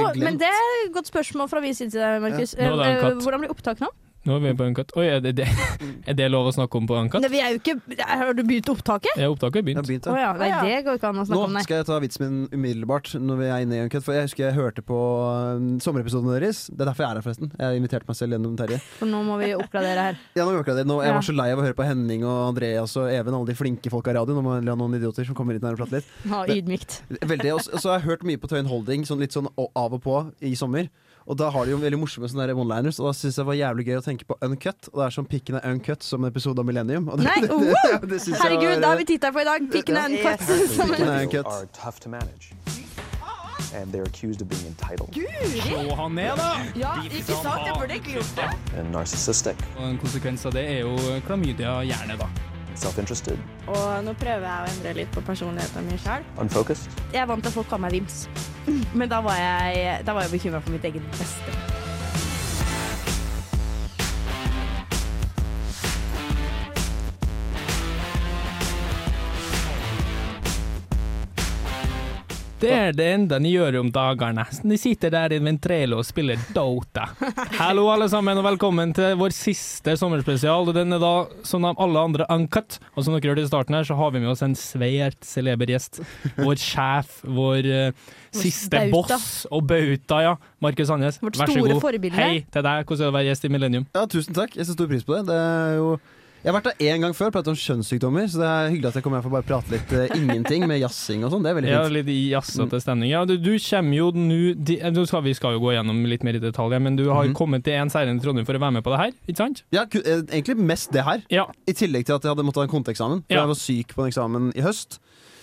har glemt. men det er et godt spørsmål fra vi side, Markus. Ja. Nå er det en Eh, katt. Hvordan blir opptak nå? Nå er vi på Uncut. Oi, er det, det, er det lov å snakke om på Uncut? Nei, vi er jo ikke Har du begynt opptaket? Ja, opptaket er Jeg har begynt. begynt, Å ja. ja. Nei, det går ikke an å snakke om, Nå nei. skal jeg ta vitsen min umiddelbart, når vi er inne i Uncut. For jeg husker jeg hørte på um, sommerepisoden deres. Det er derfor jeg er her, forresten. Jeg inviterte meg selv gjennom Terje. For nå må vi oppgradere her. Ja, nå øker jeg det. Nå, jeg Ja. var så lei av å høre på Henning og Andreas og Even, alle de flinke folka i radioen. Nå må jeg la noen idioter som kommer inn her og prate litt. Ha, ydmykt. Veldig, og så og så har jeg hørt mye på Tøyen Holding sånn litt sånn o- av og på i sommer. Og da har de jo veldig morsomme sånne der one-liners, og da syns jeg det var jævlig gøy å tenke på Uncut. Og det er som pikken er uncut som en episode av Millennium. Og det, Nei, det, wow! det, det synes jeg Herregud, var- da har vi titta på i dag. Pikken er en Ja. katt. Yes. som Pikken en- er en People cut. are tough to manage. And they're accused of being entitled Slå han ned, da! Ja, ikke sant? Jeg burde egentlig gjort det. and narcissistic, Og en konsekvens av det er jo klamydia hjerne, da. self-interested, Og nå prøver jeg å endre litt på personligheten min sjøl. unfocused. Jeg er vant til at folk kaller meg Vims. Men da var jeg, da var jeg bekymra for mitt eget beste. Det er det enda ni gjør om dagene. Ni sitter der i en ventrelo og spiller Dota. Hallo, alle sammen, og velkommen til vår siste sommerspesial. Og den er da, som de alle andre, uncut. Og som dere hørte i starten her, så har vi med oss en svært celeber gjest. Vår sjef, vår eh, siste Vår bauta. boss og bauta, ja. Markus Sandnes, Vårt vær så store god. forbilde. Hei til deg. Hvordan er det å være gjest i Millennium? Ja, tusen takk. Jeg setter stor pris på det. det er jo jeg har vært der én gang før, pratet om kjønnssykdommer, så det er hyggelig at jeg kommer her for å bare prate litt eh, ingenting med jazzing og sånn. Det er veldig Ja, fint. Mm. litt jazzete stemning. Ja, du, du kommer jo nå di- eh, nå skal, Vi skal jo gå gjennom litt mer i detalj, men du har Mhm. kommet til en seier i Trondheim for å være med på det her, ikke sant? Ja, ku- eh, egentlig mest det her, Ja. i tillegg til at jeg hadde måttet ha en konteeksamen. For Ja. jeg var syk på en eksamen i høst.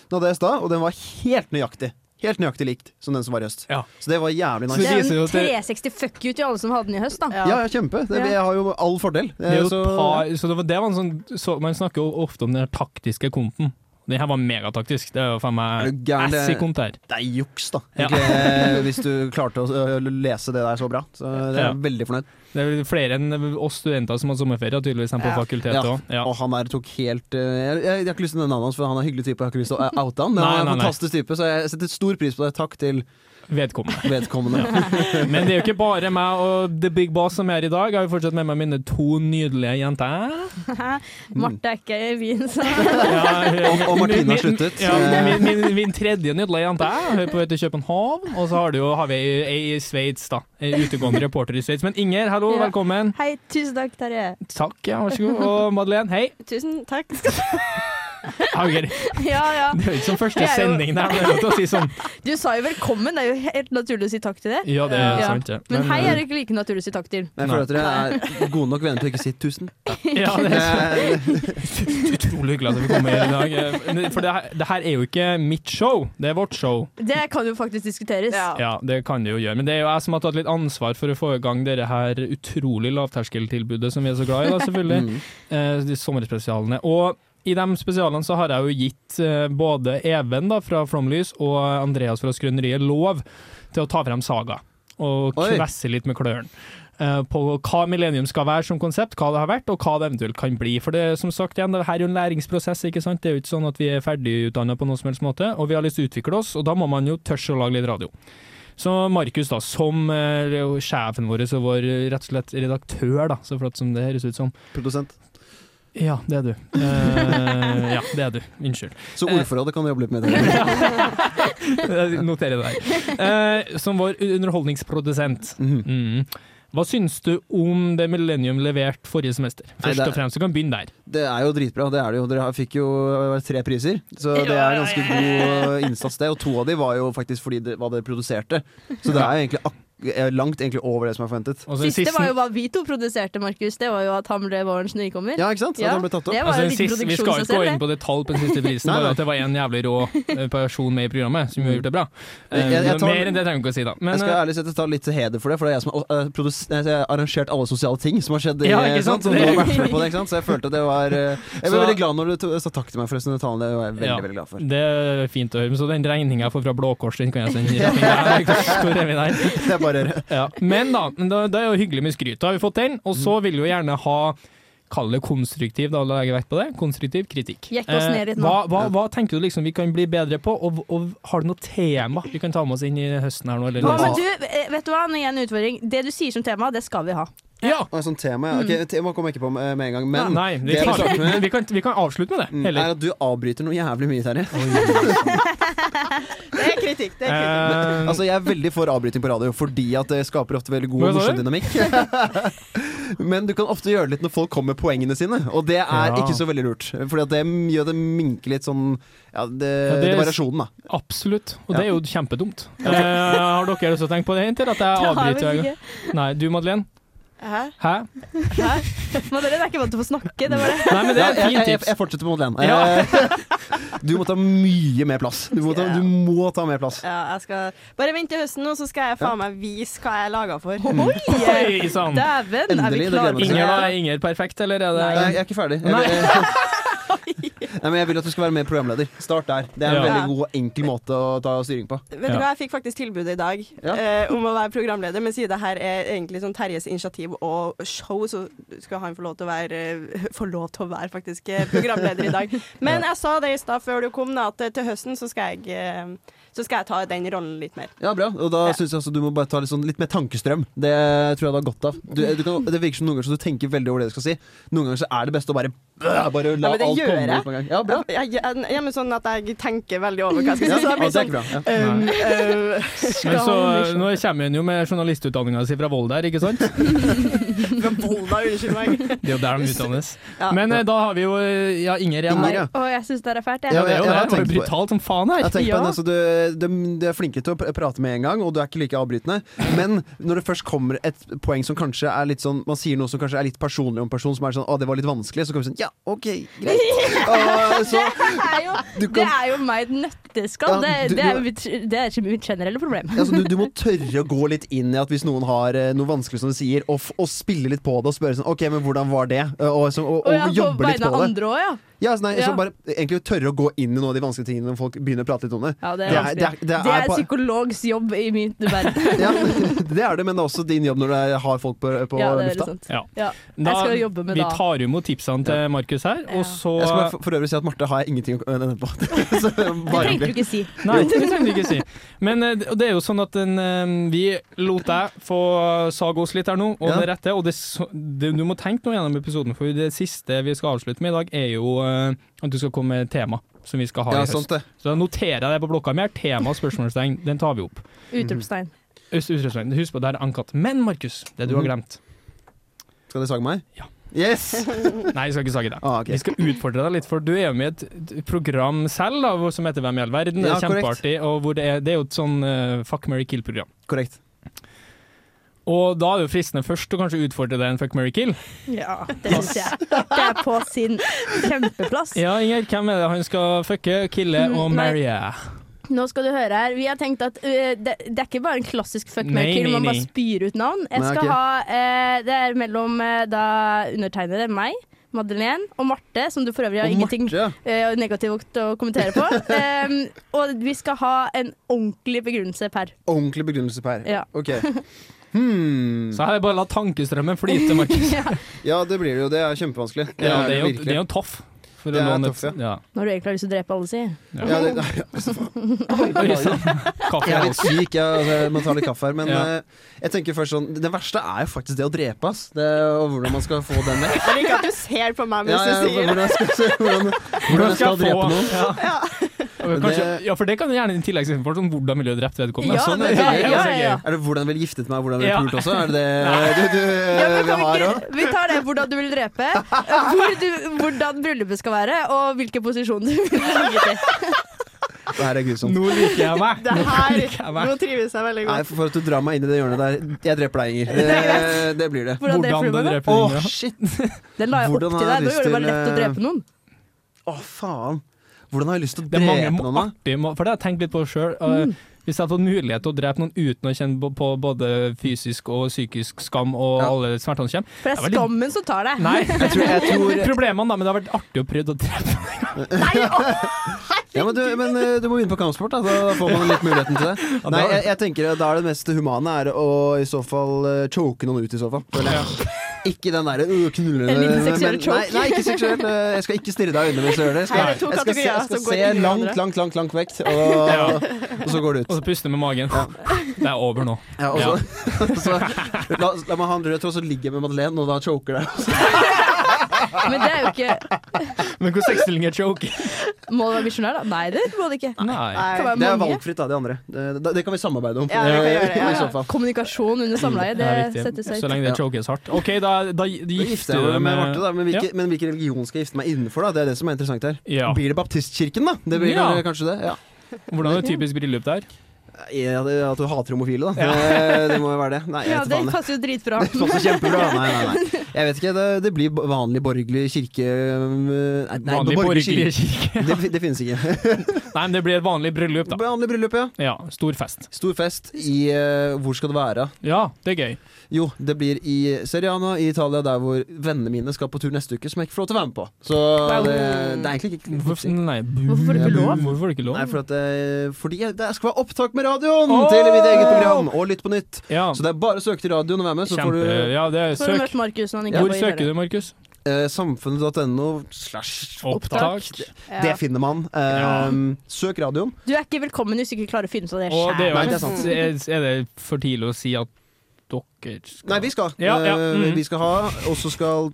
Den hadde jeg i stad, og den var helt nøyaktig. Helt nøyaktig likt som den som var i høst. Ja. Så det var jævlig nice. Så Det er viser jo jo en at det- 360 fuck you til alle som hadde den i høst, da. Ja, ja, kjempe. Det, Ja. Jeg har jo all fordel. Det er jo Eh, så, et par, så det var, det var en sånn, så man snakker jo ofte om den her taktiske konten. Den her var megataktisk. Det er jo faen Er meg du gæren? ass i kont her. det er juks, da. Ja. Egentlig, eh, hvis du klarte å eh, lese det der så bra. Så det er Ja. jeg veldig fornøyd. Det er vel flere enn oss studenter som har sommerferie, tydeligvis, enn på fakultetet Ja. òg. Ja. Og han der tok helt eh, jeg, jeg har ikke lyst til å nevne navnet hans, for han er hyggelig type. Jeg har ikke lyst til å eh, oute han, men han Nei, er en nei, nei. fantastisk type, så jeg setter stor pris på det. Takk til Vedkommende. vedkommende. Men det er jo ikke bare meg og The Big Boss som er her i dag. Jeg har jo fortsatt med meg mine to nydelige jenter. Marte er ikke i byen, så Ja, Og- og Martine har min- sluttet. Ja, Eh. min, min, min tredje nydelige jente er her på vei til København. Og så har, du jo, har vi ei- ei i Sveits, da. Ei utegående reporter i Sveits. Men Inger, hallo, Ja. velkommen. Hei, tusen takk, Terje. Takk, ja, vær så god. Og Madeleine, hei. Tusen takk. Hager. Ja, ja. Det er jo ikke som første Jeg er jo- sending der, men det er lov til å si sånn. Du sa jo velkommen, det er jo helt naturlig å si takk til det. Ja, eh, det er Ja. sant, ja. Men hei er det ikke like naturlig å si takk til. Men jeg føler at dere er gode nok venner til å ikke si tusen. Ja, det er Eh, utrolig hyggelig at vi kommer her i dag. For det her, det her er jo ikke mitt show, det er vårt show. Det kan jo faktisk diskuteres. Ja. Ja, det kan det jo gjøre. Men det er jo jeg som har tatt litt ansvar for å få i gang dette her utrolig lavterskeltilbudet som vi er så glad i, da, selvfølgelig. Mm. eh, de sommerspesialene. Og i de spesialene så har jeg jo gitt eh, både Even da, fra Flomlys og Andreas fra Skrøneriet lov til å ta frem saga og Oi. kvesse litt med klørne. eh, På hva millennium skal være som konsept, hva det har vært og hva det eventuelt kan bli. For det som sagt igjen, det her er jo en læringsprosess, ikke sant. Det er jo ikke sånn at vi er ferdigutdanna på noen som helst måte, og vi har lyst til å utvikle oss, og da må man jo tørre å lage litt radio. Så Markus, da, som eh, sjefen vår og vår eh, rett og slett redaktør, da, så flott som det høres ut som, Produsent. ja, det er du. Eh, ja, det er du. Unnskyld. Så ordforrådet kan du jobbe litt med. Det. Jeg Noterer det der. Eh, som vår underholdningsprodusent. Mhm. Mm. Hva syns du om det Millennium leverte forrige semester? Nei, Først det- og fremst, du kan begynne der. Det er jo dritbra. det er det jo. Dere har- fikk jo eh, tre priser, så det er ganske god eh, innsats, det. Og to av de var jo faktisk fordi det, hva dere produserte. Så det er jo egentlig ak eh, langt egentlig over det som er forventet. Og så den Siste Altså, siste- var jo hva vi to produserte, Markus. Det var jo at han ble vårens nykommer. Ja, ikke sant? At Ja. den ble tatt opp. Det var jo altså, den en liten siste, vi skal produksjon i ikke seg gå selv. inn på detalj på den siste prisen, Nei, nei. bare at det var en jævlig rå eh, person med i programmet som gjorde det bra. Eh, Jeg- jeg tar- Mer enn det trenger vi ikke å si, da. Men, jeg skal eh, ærlig sette ta litt heder for det, for det er jeg som har eh, produs- eh, jeg har arrangert alle sosiale ting som har skjedd. i- eh, Ja, ikke sant? Så, du Det- har vært med på det, ikke sant? så jeg følte at det var eh, Jeg ble Så- veldig glad når du to- sa takk til meg, forresten. Den talen det var jeg veldig, Ja. veldig glad for. eh, det er fint å høre. Men Så den regninga jeg får fra Blå Kors, den kan jeg sende rett inn der. Hvor er vi der? Det er bare Mm. Ja. Men da, men da, det er jo hyggelig med skryt. Da har vi fått den, og så vil vi jo gjerne ha Kall det konstruktiv, da, legger jeg vekt på det. Konstruktiv kritikk. Eh, Jekke oss ned litt nå. hva, hva, hva tenker du liksom vi kan bli bedre på, og, og har du noe tema vi kan ta med oss inn i høsten her nå? Eller Hva, noe? men du, eh, vet du hva, nå gir jeg en utfordring. Det du sier som tema, det skal vi ha. Ja! Og et sånt tema, ja. Ok, tema kommer jeg ikke på med, med en gang, men Mm. Nei, vi det jeg vil kan, starte med, vi, kan, vi kan avslutte med det. mm, Eller? er at du avbryter noe jævlig mye, Terje. Det er kritikk. Det er kritikk. Eh, Altså, jeg er veldig for avbryting på radio, fordi at det skaper ofte veldig god Hva og sa morsom du? dynamikk. Men du kan ofte gjøre det litt når folk kommer med poengene sine, og det er Ja. ikke så veldig lurt. For det gjør det minker litt sånn ja, det, Ja, det det- er variasjonen, da. absolutt. Og Ja. det er jo kjempedumt. Eh, har dere også tenkt på det inntil at jeg avbryter? ikke. Nei, du Madeleine? Hæ? Hæ? Madeleine er ikke vant til å få snakke. Det var det. Nei, men det er Ja, et jeg, jeg, fint tips. jeg fortsetter på Madeleine. Ja. Eh, Du må ta mye mer plass. Du må ta, du må ta mer plass. Ja, jeg skal Bare vent til høsten, nå, så skal jeg faen meg vise hva jeg er laga for. Oi sann! Dæven, er vi Endelig, det klare? gleder jeg meg Inger, til. da? Er Inger perfekt, eller er det Nei, jeg er ikke ferdig. Jeg, vil- Nei, men jeg vil at du skal være med programleder. Start der. Det er en Ja. veldig god og enkel måte å ta styring på. Vet du Ja. hva, jeg fikk faktisk tilbudet i dag Ja. eh, om å være programleder, men siden det her er egentlig sånn Terjes initiativ og show, så skal han få lov til å være eh, Få lov til å være faktisk eh, programleder i dag. Men jeg sa det i stad før du kom, da, at eh, til høsten så skal jeg eh, Så skal jeg ta den rollen litt mer. Ja, bra. Og da Ja. synes jeg altså du må bare ta litt, sånn, litt mer tankestrøm. Det tror jeg du har godt av. Du, du kan, det virker som noen ganger så du tenker veldig over det du skal si. Noen ganger så er det beste å bare, bare la Ja, men det alt gjør komme jeg. ut på en gang. Ja, bra. Jeg, jeg, jeg, men sånn at jeg tenker veldig over hva jeg skal Ja, si. ja, Så jeg blir det er sånn ikke bra. Ja. øhm, Nei. øhm, Men så, skal- nå kommer hun jo med journalistutdanninga si fra Volda her, ikke sant? Fra Volda, sånn, unnskyld meg. Det er jo der de utdannes. Ja. Men eh, da har vi jo eh, ja, Inger igjen. Inger, ja. Å, jeg syns det er fælt, jeg. Ja, det er Jeg- jeg jo det. har Det var tenkt jo på- brutalt som faen her. Jeg tenker på Ja. den, altså, du, de, de er flinke til å pr- prate med en gang, og du er ikke like avbrytende. Men når det først kommer et poeng som kanskje er litt sånn Man sier noe som kanskje er litt personlig om en person, som er sånn 'Å, det var litt vanskelig', så kommer vi sånn 'Ja, OK, greit'. Og så Det er jo, du det kan er jo meg nøtteskall. Ja, Det, du- det, er du- mitt, det er ikke mitt generelle problem. altså, du, du må tørre å gå litt inn i at hvis noen har eh, noe vanskelig som de sier, og, f og spille litt på det og spørre sånn 'OK, men hvordan var det?' Og, så- og, og, Og jeg er på jobbe litt vegne på av det. andre òg, ja. Ja, altså, nei, Ja. Så bare egentlig tørre å gå inn i noen av de vanskelige tingene når folk begynner å prate litt om det. ja. Det Det er er- det er- vanskelig. det Det er er på- psykologs jobb i min verden. Ja, det er det, men det er også din jobb når du har folk på, på Ja, det er lufta. veldig sant. Ja. Ja. Da, Jeg skal jobbe med vi da. tar imot tipsene til Markus her, Ja. og så Jeg skal bare for, for øvrig si at Marte har jeg ingenting å nevne på. Så Det trengte bare hyggelig. du ikke si. Nei, det kan du ikke si. Men eh, det er jo sånn at den, eh, vi lot deg få sage oss litt her nå, og Ja. det rette. Og det, så- det, du må tenke noe gjennom episoden, for det siste vi skal avslutte med i dag, er jo eh, at du skal komme med et tema som vi skal ha Ja, sånn i høst. sant det. Så da noterer jeg det på blokka mi her. Tema og spørsmålstegn, den tar vi opp. Utropstegn. Øst- Utropstegn. Husk på, det her er ankatt. Men Markus, det du Mhm. har glemt Skal dere sage meg? Ja. Yes! Nei, jeg skal ikke sage deg. Ah, ok. Vi skal utfordre deg litt, for du er jo med i et program selv da, hvor- som heter Hvem i all verden. Det Ja, er kjempeartig. Og hvor det, er, det er jo et sånn eh, fuck, marry, kill-program. Korrekt. Og da er det jo fristende først å kanskje utfordre deg en fuck, marry, kill. Ja, det syns jeg. Det er på sin kjempeplass. Ja, Inger, hvem er det han skal fucke, kille Mm, og nei. marrye? Nå skal du høre her. Vi har tenkt at ø, det, det er ikke bare en klassisk fuck Nei, marry kill, nei, man bare nei. spyr ut navn. Jeg Nei, skal ok. ha ø, Det er mellom ø, da undertegnede, meg, Madeleine og Marte, som du for øvrig har Og ingenting Marte, ja. ø, negativt å kommentere på. Ehm, og vi skal ha en ordentlig begrunnelse per. Ordentlig begrunnelse, Per. Ja. Ok. Hmm. Så her er det bare å la tankestrømmen flyte, Markus. Ja. Ja, det blir det jo. Det er kjempevanskelig. Ja, det er jo, virkelig. det er jo tøff. For Det å er låne tøff, et- ja. Når du egentlig har lyst til å drepe alle, si. Ja, det, nei, altså, Oi, sann. Kaffe jeg er er litt syk, jeg altså, jeg må ta litt kaffe her. Men Ja. eh, jeg tenker først sånn Det verste er jo faktisk det å drepe, ass. Det, og hvordan man skal få den vekk. Jeg liker at du ser på meg Ja, ja, mens du sier det. hvordan, skal, hvordan, hvordan jeg skal drepe noen. Ja. Og Kanskje, Det- ja, for det kan du gjerne i tilleggseksempel sånn hvordan ville du drept vedkommende? Ja, sånn, det- det ja, er gøy, altså, ja, ja. gøy. Er det hvordan jeg ville giftet meg, og hvordan jeg ville Ja. pult også? Er det det du, du men Eh, vi kan vi, har òg? ikke, vi tar det hvordan du vil drepe, hvor du, hvordan bryllupet skal være, og hvilke posisjoner du vil ligge til. Det her er grusomt. Altså, Nå liker jeg meg! Det Nå her, liker jeg meg. nå trives jeg veldig Nei, godt. for, for at du drar meg inn i det hjørnet der. Jeg dreper deg, Inger. Det, det blir det. Hvordan det Hvordan flyr du med Å, dreper hunden, ja. shit! Den la jeg opp Hvordan til har deg. Nå jeg gjorde det bare lyst lett å til, eh, drepe noen. Å, faen. Hvordan har jeg lyst til å Det er mange drepe må- noen, da? artige må- For det har jeg tenkt litt på sjøl. Hvis jeg hadde fått mulighet til å drepe noen uten å kjenne på- på både fysisk og psykisk skam og Ja. alle smertene som kommer For det er Det er veldig- skammen som tar deg. Nei, Jeg tror, jeg tror problemene, da, men det har vært artig å prøve å drepe. ja, men, du, men eh, du må begynne på kampsport, da. Da får man litt muligheten til det. Ja, Nei, da- eh, jeg, jeg tenker at da er det mest humane er å i så fall eh, choke noen ut, i så fall. føler jeg. Ikke den derre øh, knullende En liten men- seksuell men- choke. Nei, nei, ikke seksuelt. eh, Jeg skal ikke stirre deg i øynene mens jeg gjør det. Jeg skal, Her er jeg to skal, se- kategorier jeg skal som går se inn i langt, hverandre. langt, langt langt vekk, og, og så går det Og ut. så puste med magen. Det er over nå. Ja, og så, så, la, la meg ha en rød tråd, så ligger jeg med Madeleine, og da choker det. Men det er jo ikke Men hvor sexstilling er choke? Må du være misjonær, da? Nei, det må du ikke. Nei. Det kan Det være er mange. valgfritt, da, de andre. Det, det- det kan vi samarbeide om. Ja, det kan vi gjøre, ja. I så fall. Kommunikasjon under samleie, Det det er viktig. settes Så høyt. lenge det chokes hardt. OK, da, da Da gifter gifter du jeg deg meg med med Marte, da. Men hvilken men hvilken religion skal jeg gifte meg innenfor? da? Det er det som er interessant her. Ja. Blir det baptistkirken, da? Det blir Ja. vel kanskje det? Ja. Eh, Hvordan er det typisk bryllup der? Ja, det- At du hater homofile, da. Det, det må jo være det. Nei, jeg Ja, vet det faen. jeg. passer jo dritbra. Det passer kjempebra. Nei, nei, nei. Jeg vet ikke. Det, det blir b- vanlig borgerlig kirke øh, Nei, nei Vanlig borgerlig borgerlig kirke. kirke. Det, fi- det finnes ikke. Nei, men det blir et vanlig bryllup, da. Vanlig bryllup, ja. Ja, stor fest. Stor fest i øh, Hvor skal det være? Ja, det er gøy. Jo, det blir i Seriana i Italia, der hvor vennene mine skal på tur neste uke, som jeg ikke får lov til å være med på. Så det, det er egentlig ikke Hvorfor, tipsing. nei, Hvorfor får du ikke lov? Hvorfor får du ikke lov? Nei, for at, øh, fordi jeg, det skal være opptak med radioen Åh! til mitt eget program, og Lytt på nytt. Ja, Så det er bare å søke til radioen og være med, så får kjempe... du Ja, det er Så har du søk. møtt Markus når han ikke Hvor var i søker døra. du, Markus? eh, samfunnet.no slash Opptak. Ja. Det finner man. Eh, Ja. Søk radioen. Du er ikke velkommen hvis du ikke klarer å finne ut av det Og det sjæl. er, jo, Nei, det er sant. er- er det for tidlig å si at dere skal Nei, vi skal. Ja, ja, Eh, mhm. Vi skal ha, og så skal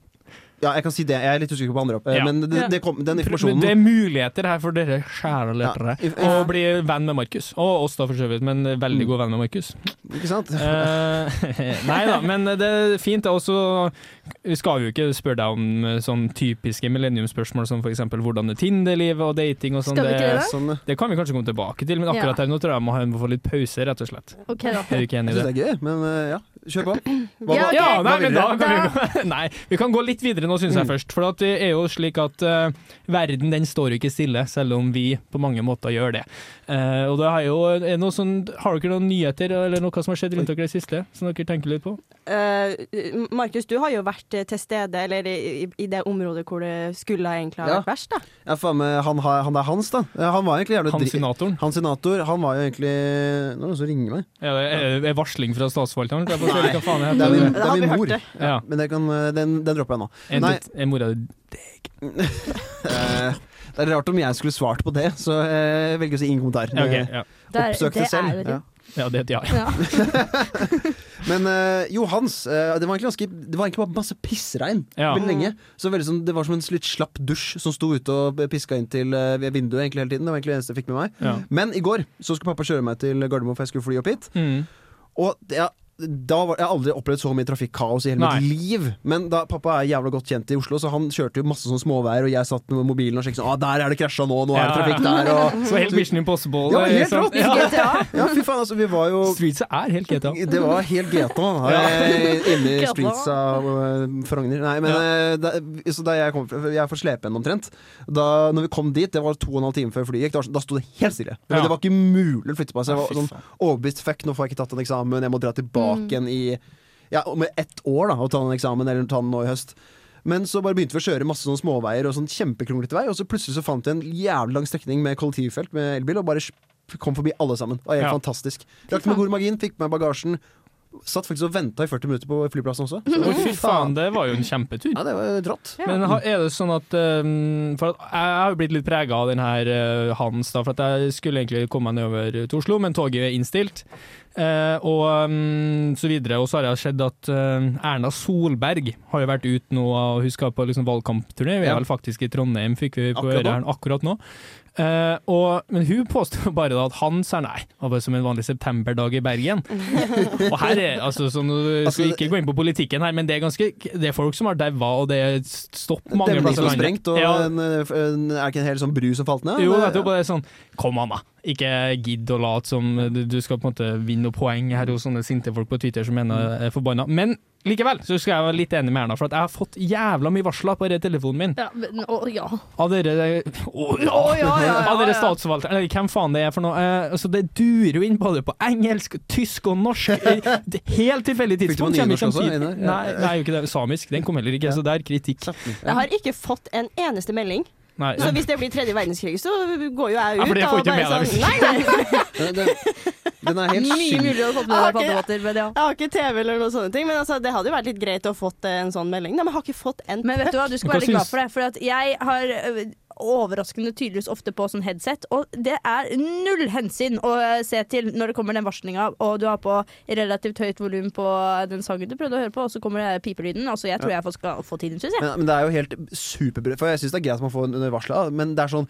Ja, jeg kan si det. Jeg er litt usikker på andre, eh, Ja. men det, det kom, den informasjonen Det er muligheter her for dere kjære Ja. lyttere. If- Å bli venn med Markus. Og oss, da, for så vidt, men veldig Mm. god venn med Markus. Ikke sant? Eh, nei da, men det er fint. det. Og så skal vi jo ikke spørre deg om eh, sånn typiske millenniumsspørsmål som f.eks. hvordan er Tinder-livet og dating og sånn. Skal vi ikke det? Sånn, eh, det kan vi kanskje komme tilbake til, men akkurat her nå tror jeg jeg må ha- må få litt pause, rett og slett. Ok, da. Er du ikke jeg enig i syns det? det er gøy, men eh, ja. Kjør på. Hva, Ja, hva- ok. Ja, nei, Hva vil men da dere? kan vi, gå- nei, vi kan gå litt videre nå, Mm. syns jeg først. For at det er jo slik at eh, verden den står jo ikke stille, selv om vi på mange måter gjør det. Eh, og det er jo er det noe sånn, Har dere noen nyheter eller noe som har skjedd rundt dere i det siste, som dere tenker litt på? Eh, Markus, du har jo vært eh, til stede, eller i, i- i det området hvor det skulle egentlig ha Ja. vært verst, da. Ja, faen meg, han, har- han der Hans, da. Eh, Han var egentlig jævlig Han dri- senatoren? han senator, han var jo egentlig Nå er det noen som ringer meg. Er det er- er varsling fra statsforvalteren? Jeg får se Nei. hva faen jeg Mm. Det er heter. min, Det det har er vi min hørt mor. det. Ja. Men det kan, eh, den, den dropper jeg nå. Er Nei. ditt- Er mora di Eh, Det er rart om jeg skulle svart på det, så eh, jeg velger å si ingen kommentar. Ja, ok, ja. Det er- det Oppsøk det selv. er jo det. Ja. ja, det er et ja. Men eh, jo, Hans, eh, det var egentlig ganske Det var egentlig bare masse pissregn Ja. veldig lenge. Så veldig sånn, Det var som en litt slapp dusj som sto ute og piska inn til eh, ved vinduet egentlig hele tiden. Det var egentlig det eneste jeg fikk med meg. ja. Men i går så skulle pappa kjøre meg til Gardermoen, for jeg skulle fly opp hit. Mm. Og det, ja, da var, Jeg har aldri opplevd så mye trafikkaos i hele Nei. mitt liv. Men da, pappa er jævla godt kjent i Oslo, så han kjørte jo masse sånn småveier, og jeg satt med mobilen og sjekket sånn Å, der er det krasja nå, nå er det Ja, ja. trafikk der, og Så helt Mission Impossible. Ja, helt sant? rått. Ja. GTA. Ja, fy faen, altså. Vi var jo Streetsa er helt GTA. Det var helt GTA eh, inne i streets av eh, Frogner. Nei, men Ja. eh, da, så da jeg kom fra Jeg er fra Slepen omtrent. Da når vi kom dit, det var to og en halv time før flyet gikk, da, da sto det helt stille. Det, var- Ja. det var ikke mulig å flytte på seg. Jeg var Fy sånn faen. Mm. overbevist fuck, nå får jeg ikke tatt en eksamen, jeg må dra tilbake igjen i Ja, om ett år, da, og ta en eksamen, eller ta den nå i høst. Men så bare begynte vi å kjøre masse sånne småveier og sånn kjempekronglete vei, og så plutselig så fant jeg en jævlig lang strekning med kollektivfelt med elbil, og bare sj- kom forbi alle sammen. Det var helt Ja. fantastisk. Rakk med god margin, fikk med meg bagasjen. Satt faktisk og venta i 40 minutter på flyplassen også. Så, Å, fy faen, det var jo en kjempetur. Ja, det var rått. Men har- er det sånn at eh, For at jeg har jo blitt litt prega av den her eh, Hans, da. For at jeg skulle egentlig komme meg nedover til Oslo, men toget er innstilt. Eh, og mm, så videre. Og så har jeg sett at eh, Erna Solberg har jo vært ute nå, og hun skal på liksom, valgkampturné. Vi er Ja. vel faktisk i Trondheim, fikk vi på Akkurat øret nå. her akkurat nå. Eh, og, men hun påstår jo bare da at Hans er nei. Det var bare som en vanlig septemberdag i Bergen. og her er altså sånn, Vi skal Altså, ikke gå inn på politikken her, men det er ganske Det er folk som har daua, og det er stopp mange Demning plasser i som landet. sprengt, og ja. en, en, er ikke en hel sånn bru som falt ned? Jo, Eller- nettopp. og Det er sånn Kom an, da. Ikke gidd å late som du du skal på en måte vinne noen poeng her hos sånne sinte folk på Twitter som mener jeg er forbanna. Men likevel så skal jeg være litt enig med Erna, for at jeg har fått jævla mye varsler på denne telefonen min. Ja, men, å, ja. Av dere Å, ja! Å, ja, ja, ja, Av ja. dere statsforvaltere, eller hvem faen det er for noe. Eh, altså, det durer jo inn både på engelsk, tysk og norsk. Eh, det- Helt tilfeldig Fikk du på tidspunkt. kommer nynorsk ikke også, samtidig. Einar? Ja. Nei, nei, jo ikke det. Samisk, den kom heller ikke, så det er kritikk. Jeg har ikke fått en eneste melding. Nei. Så hvis det blir tredje verdenskrig, så går jo jeg Ja, ut. for det får og ikke bare med deg, sånn, nei, nei. Det, det, Den er helt Mye syk. mulig å få med deg Ok. paddebåter, men ja. Jeg har ikke TV eller noen sånne ting, men altså, det hadde jo vært litt greit å fått eh, en sånn melding. Nei, men jeg har ikke fått en Men vet du hva, du skal Hva være litt glad syns- for det. For at jeg har ø, overraskende tydeligvis ofte på sånn headset, og det er null hensyn å ø, se til når det kommer den varslinga, og du har på relativt høyt volum på den sangen du prøvde å høre på, og så kommer det pipelyden. Altså, jeg tror jeg får- skal få tiden, syns jeg. Men, men det er jo helt superbra For jeg syns det er greit at man får en varsel, av, men det er sånn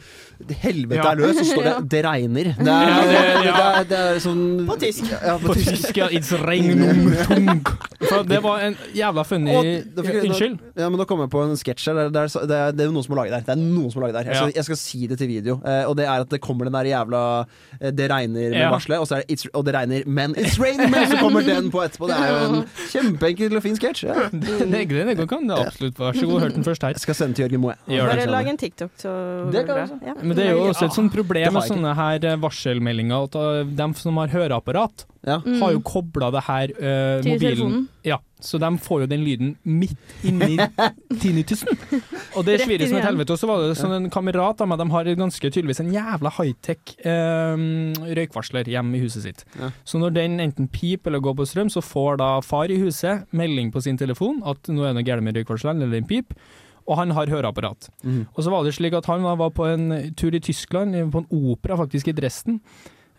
Helvete Ja. er løs, og så står det 'det regner'. Det er, Ja, det, det- ja. er, det er sånn På tysk. Ja, på På tysk. tysk, ja. It's regnum tung. For det var en jævla funny Og- da fikk jeg- Unnskyld. Ja, men Nå kom jeg på en sketsj her. Det er, det, er, det, er, det er noen som har laget der. Det er noen som har laget der Jeg skal, Ja. jeg skal si det til video. Eh, og det er at det kommer den der jævla eh, 'det regner' med Ja. varselet, og, så er det it's, og det regner, men it's raining, men så kommer den på etterpå. Det er jo en kjempeenkel og fin sketsj. Ja. Den er grei, den kan det absolutt. Vær så god, hørt den først her. Jeg skal sende til Jørgen Moe. Gjør det. Bare lag en TikTok, så Det kan bra. Ja. Men det er jo også et sånt det problem har med jeg ikke. sånne her eh, varselmeldinger at eh, dem som har høreapparat, Ja. Mm. har jo kobla det her eh, Til mobilen. telefonen. Ja, så de får jo den lyden midt inni tinnitusen. Og det Rett svirer inn som et igjen. helvete. Og så var det sånn en kamerat av meg, de har ganske tydeligvis en jævla high-tech eh, røykvarsler hjemme i huset sitt. Ja. Så når den enten piper eller går på strøm, så får da far i huset melding på sin telefon at nå er det noe galt med røykvarsleren eller en pip. Og han har høreapparat. Mhm. Og så var det slik at han var på en tur i Tyskland, på en opera faktisk, i Dresden.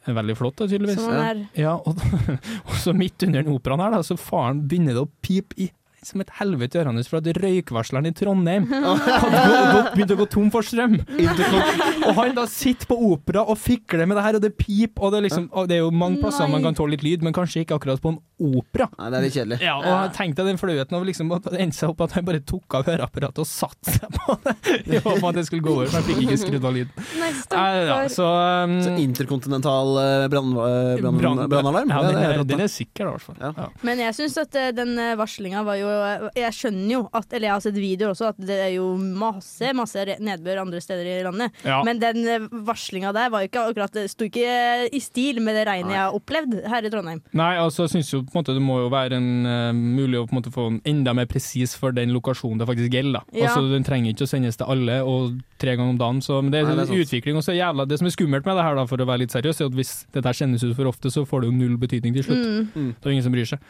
Veldig flott, da, tydeligvis. Som han er. Ja, og, og så midt under den operaen her, da, så faren begynner det å pipe i som et helvete i ørene hans for at røykvarsleren i Trondheim hadde gå- gått- begynt å gå tom for strøm. Og han da sitter på opera og fikler med det her, og det piper, og det er liksom og Det er jo mange plasser man kan tåle litt lyd, men kanskje ikke akkurat på en opera. Nei, det er litt kjedelig. Ja, og Tenk deg den flauheten av liksom at det endte seg opp at han bare tok av høreapparatet og satte seg på det i håp om at det skulle gå over, for han fikk ikke skrudd av lyden. Nei, Nei, ja, stakkar. så, um, Så interkontinental eh, brann- eh, brann- brann- brannalarm? Ja, den det er, rått, da. den er sikker, da, i hvert fall. Ja. Ja. Men jeg syns at eh, den eh, varslinga var jo Jeg skjønner jo at Eller jeg har sett videoer også, at det er jo masse, masse re- nedbør andre steder i landet. Ja. Men den eh, varslinga der var jo ikke akkurat Det sto ikke eh, i stil med det regnet jeg har opplevd her i Trondheim. Nei, altså jeg synes jo på en måte det må jo være en, eh, mulig å på en måte få en enda mer presis for den lokasjonen det faktisk gjelder. da. Ja. Altså Den trenger ikke å sendes til alle og tre ganger om dagen. Så, men det er Nei, det er en utvikling. Og så er jævla, det som er skummelt med det her, da, for å være litt seriøs, er at hvis dette her sendes ut for ofte, så får det jo null betydning til slutt. Mm. Det er jo ingen som bryr seg.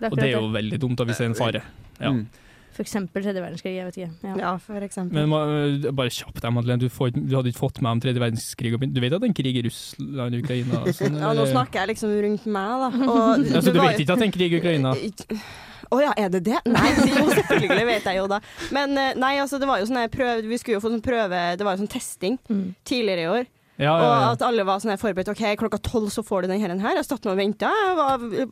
Det er Og det er akkurat jo veldig dumt da vi ser en fare. Ja. Mm. det. For eksempel tredje verdenskrig, jeg vet ikke. Ja. ja, for eksempel. Men ma- eh, bare kjapt, deg, Madeleine. Du, får, ikke- du hadde ikke fått med om tredje verdenskrig. og- Du vet at det er en krig i Russland og Ukraina? og Sånn, Ja, nå eller- snakker jeg liksom rundt meg, da. Og Ja, så du var jo- vet ikke at det er en krig i Ukraina? Eh, Å ja, er det det? Nei, jo, selvfølgelig vet jeg jo da. Men eh, nei, altså, det var jo sånn her prøve Vi skulle jo få sånn prøve Det var jo sånn testing Mm. tidligere i år. Ja, Og ja, ja. at alle var sånn her forberedt. OK, klokka tolv så får du den her. den her. Jeg satt nå og venta. Jeg, var- jeg,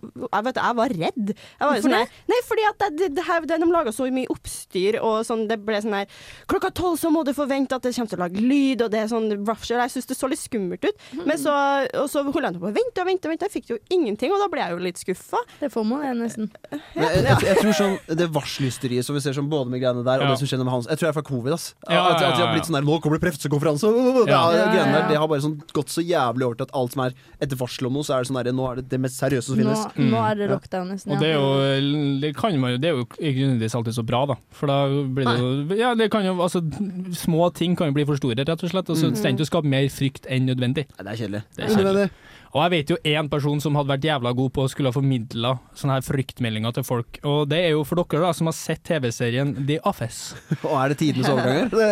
vet du, jeg var redd. Jeg var jo sånn her, nei, fordi at det, det, det her, det, de laga så mye oppstyr, og sånn, det ble sånn her Klokka tolv så må du forvente at det kommer til å lage lyd, og det er sånn rupture. Jeg syns det så litt skummelt ut. Men så, og så holdt jeg på å vente og vente og vente. Jeg fikk jo ingenting, og da ble jeg jo litt skuffa. Det får man, det, nesten. Men Jeg, jeg, jeg tror sånn, Det varslysteriet som vi ser sånn, både med greiene der og Ja. det som skjer med Hans Jeg tror det er fra covid. ass Ja, ja, At, at de har ja, ja. blitt sånn der, Nå kommer det prefsekonferanse! Ja. Ja. Ja, greiene Ja, der, ja. det har bare sånn gått så jævlig over til at alt som er et varsel om noe, så er det sånn der, nå er det det mest seriøse som Nå, finnes. nå er det lockdown, nesten. Og det er jo, det kan man, jo- det er jo ikke nødvendigvis alltid så bra, da. For da blir det jo Ja, det kan jo altså Små ting kan jo bli for store, rett og slett. Og så trenger du å skape mer frykt enn nødvendig. Nei, det er kjedelig. Det er kjedelig. Og jeg vet jo én person som hadde vært jævla god på å skulle ha formidla sånne her fryktmeldinger til folk. Og det er jo for dere da som har sett TV-serien The Office. Og er det tidenes overganger? Det,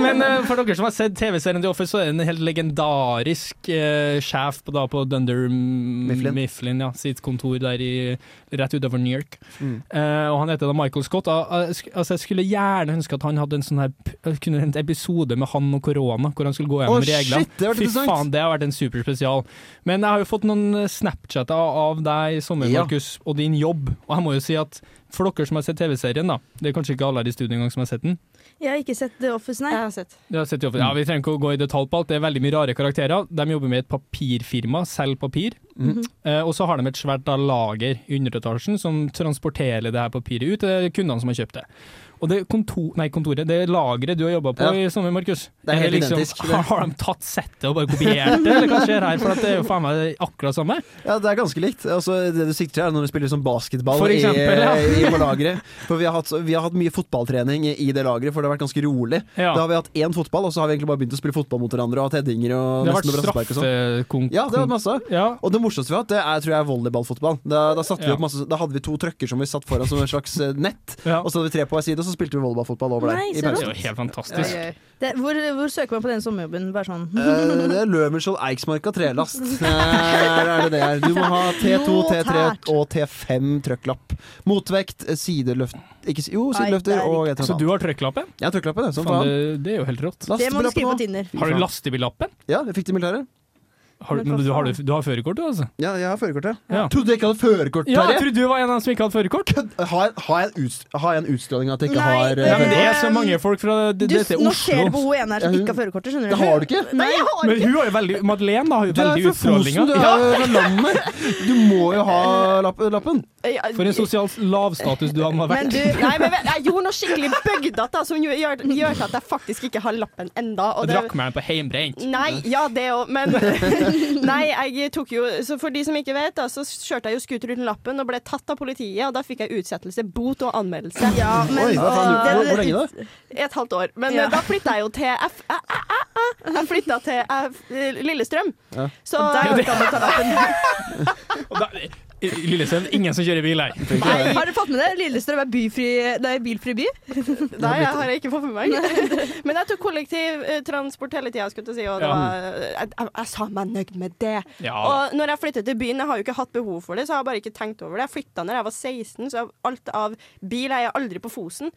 Men eh, for dere som har sett TV-serien The Office, så er det en helt legendarisk eh, sjef på, da, på Dunder Mifflin, Mifflin. Mifflin ja, sitt kontor der i, rett utenfor New York. Mm. Eh, og han heter da Michael Scott. Og, eh, sk- altså, jeg skulle gjerne ønske at han hadde en sånn her p- kunne en episode med han og korona, hvor han skulle gå gjennom Å, shit, reglene. det har vært Fy interessant. faen, det har vært en superspesial. Men jeg har jo fått noen eh, Snapchatter av deg i sommer, Ja. Markus, og din jobb. Og jeg må jo si at for dere som har sett TV-serien, da det er kanskje ikke alle her i studio engang som har sett den. Jeg har ikke sett The Office, nei. Jeg har sett. Ja, sett i offentlig- ja, Vi trenger ikke å gå i detalj på alt, det er veldig mye rare karakterer. De jobber med et papirfirma, selger papir. Mhm. Eh, og så har de et svært da, lager i underetasjen som transporterer det her papiret ut til kundene som har kjøpt det. Og det kontor, nei, kontoret, det lageret du har jobba på Ja. i sommer, Markus Det er helt liksom, identisk, det. Har, har de tatt settet og bare kopiert det, eller hva skjer her? For at det er jo faen meg akkurat samme. Ja, det er ganske likt. Altså, det du sikter til er når du spiller som basketball For eksempel, ja. i, i, på lageret. For vi har, hatt, vi har hatt mye fotballtrening i det lageret, for det har vært ganske rolig. Ja. Da har vi hatt én fotball, og så har vi egentlig bare begynt å spille fotball mot hverandre og hatt headinger og Det har nesten vært noe brassespark og sånn. straffekonk... Ja, det har vært masse. ja. Og det morsomste vi har hatt, det er tror jeg volleyballfotball. Da, da, satte vi Ja. opp masse, da hadde vi to trøkker som vi satt foran som en slags eh, nett, ja. og så hadde vi tre på hver side, og så spilte vi volleyballfotball over der. Nei, i så Det er pausen. jo helt fantastisk. Det, hvor, hvor søker man på den sommerjobben? Bare sånn. Eh, det er Løvenskiold, Eiksmarka, trelast. Eh, Her er det det er. Du må ha T2, T3 og T5 trøkklapp. Motvekt, eh, sideløft ikke, si- Jo, sideløfter Nei, det er og et eller Så annet. du har trøkklappen? Jeg har trøkklappe, det. Som Faen, faen. det, det er jo helt rått. Det må du skrive på Lastebillappen nå. Tinder. Har du lastebillappen? Ja, jeg fikk det i militæret. Har du, Men hva men du, har, faen? du, du har førerkort, du, altså? Ja, jeg har førerkortet. Ja. Trodde jeg ikke hadde førerkort, Ja, jeg Terje! trodde du var en av dem som ikke hadde førerkort. Kødd! Har jeg- har jeg en utst- har jeg en utstråling at jeg ikke Nei, har eh, Ja, Ja, men det er så men- mange folk fra det, Du, dette er nå ser du på Oslo. hun ene her som ikke har førerkortet, skjønner du. Det har du ikke? Nei, jeg har Men hun har jo veldig Madeleine da, har jo Du er veldig jo fra Fosen, utstrålinger. du er Ja, jo fra landet! Du må jo ha lapp- lappen. for en sosial lavstatus du har Men vært. du, Nei, men vet- jeg gjorde noe skikkelig bøgdata som gjør, gjør gjør at jeg faktisk ikke har lappen enda. og Jeg det- drakk meg en på heimbrent. Nei, ja det òg, men Nei, jeg tok jo Så for de som ikke vet, da, så kjørte jeg jo scooter uten lappen og ble tatt av politiet, og da fikk jeg utsettelse, bot og anmeldelse. ja, men Oi, hva faen, det- hvor, hvor lenge da? Et halvt år. Men Ja. eh, da flytta jeg jo til F... æ, æ, æ, æ. Jeg flytta til eh, Lillestrøm. Ja. Så Der går det an å ta lappen. Og da- I- i Lillesund, ingen som kjører bil her. Nei, Har du fått med det? Lillestrøm er byfri, det er bilfri by. Nei, jeg har jeg ikke fått med meg. Men jeg tok kollektivtransport hele tida, skulle jeg til å si, og det Ja. var, jeg, jeg, jeg sa meg nøyd med det. Ja. Og når jeg flyttet til byen, jeg har jo ikke hatt behov for det, så jeg har bare ikke tenkt over det. Jeg flytta når jeg var 16, så alt av bil er jeg aldri på Fosen.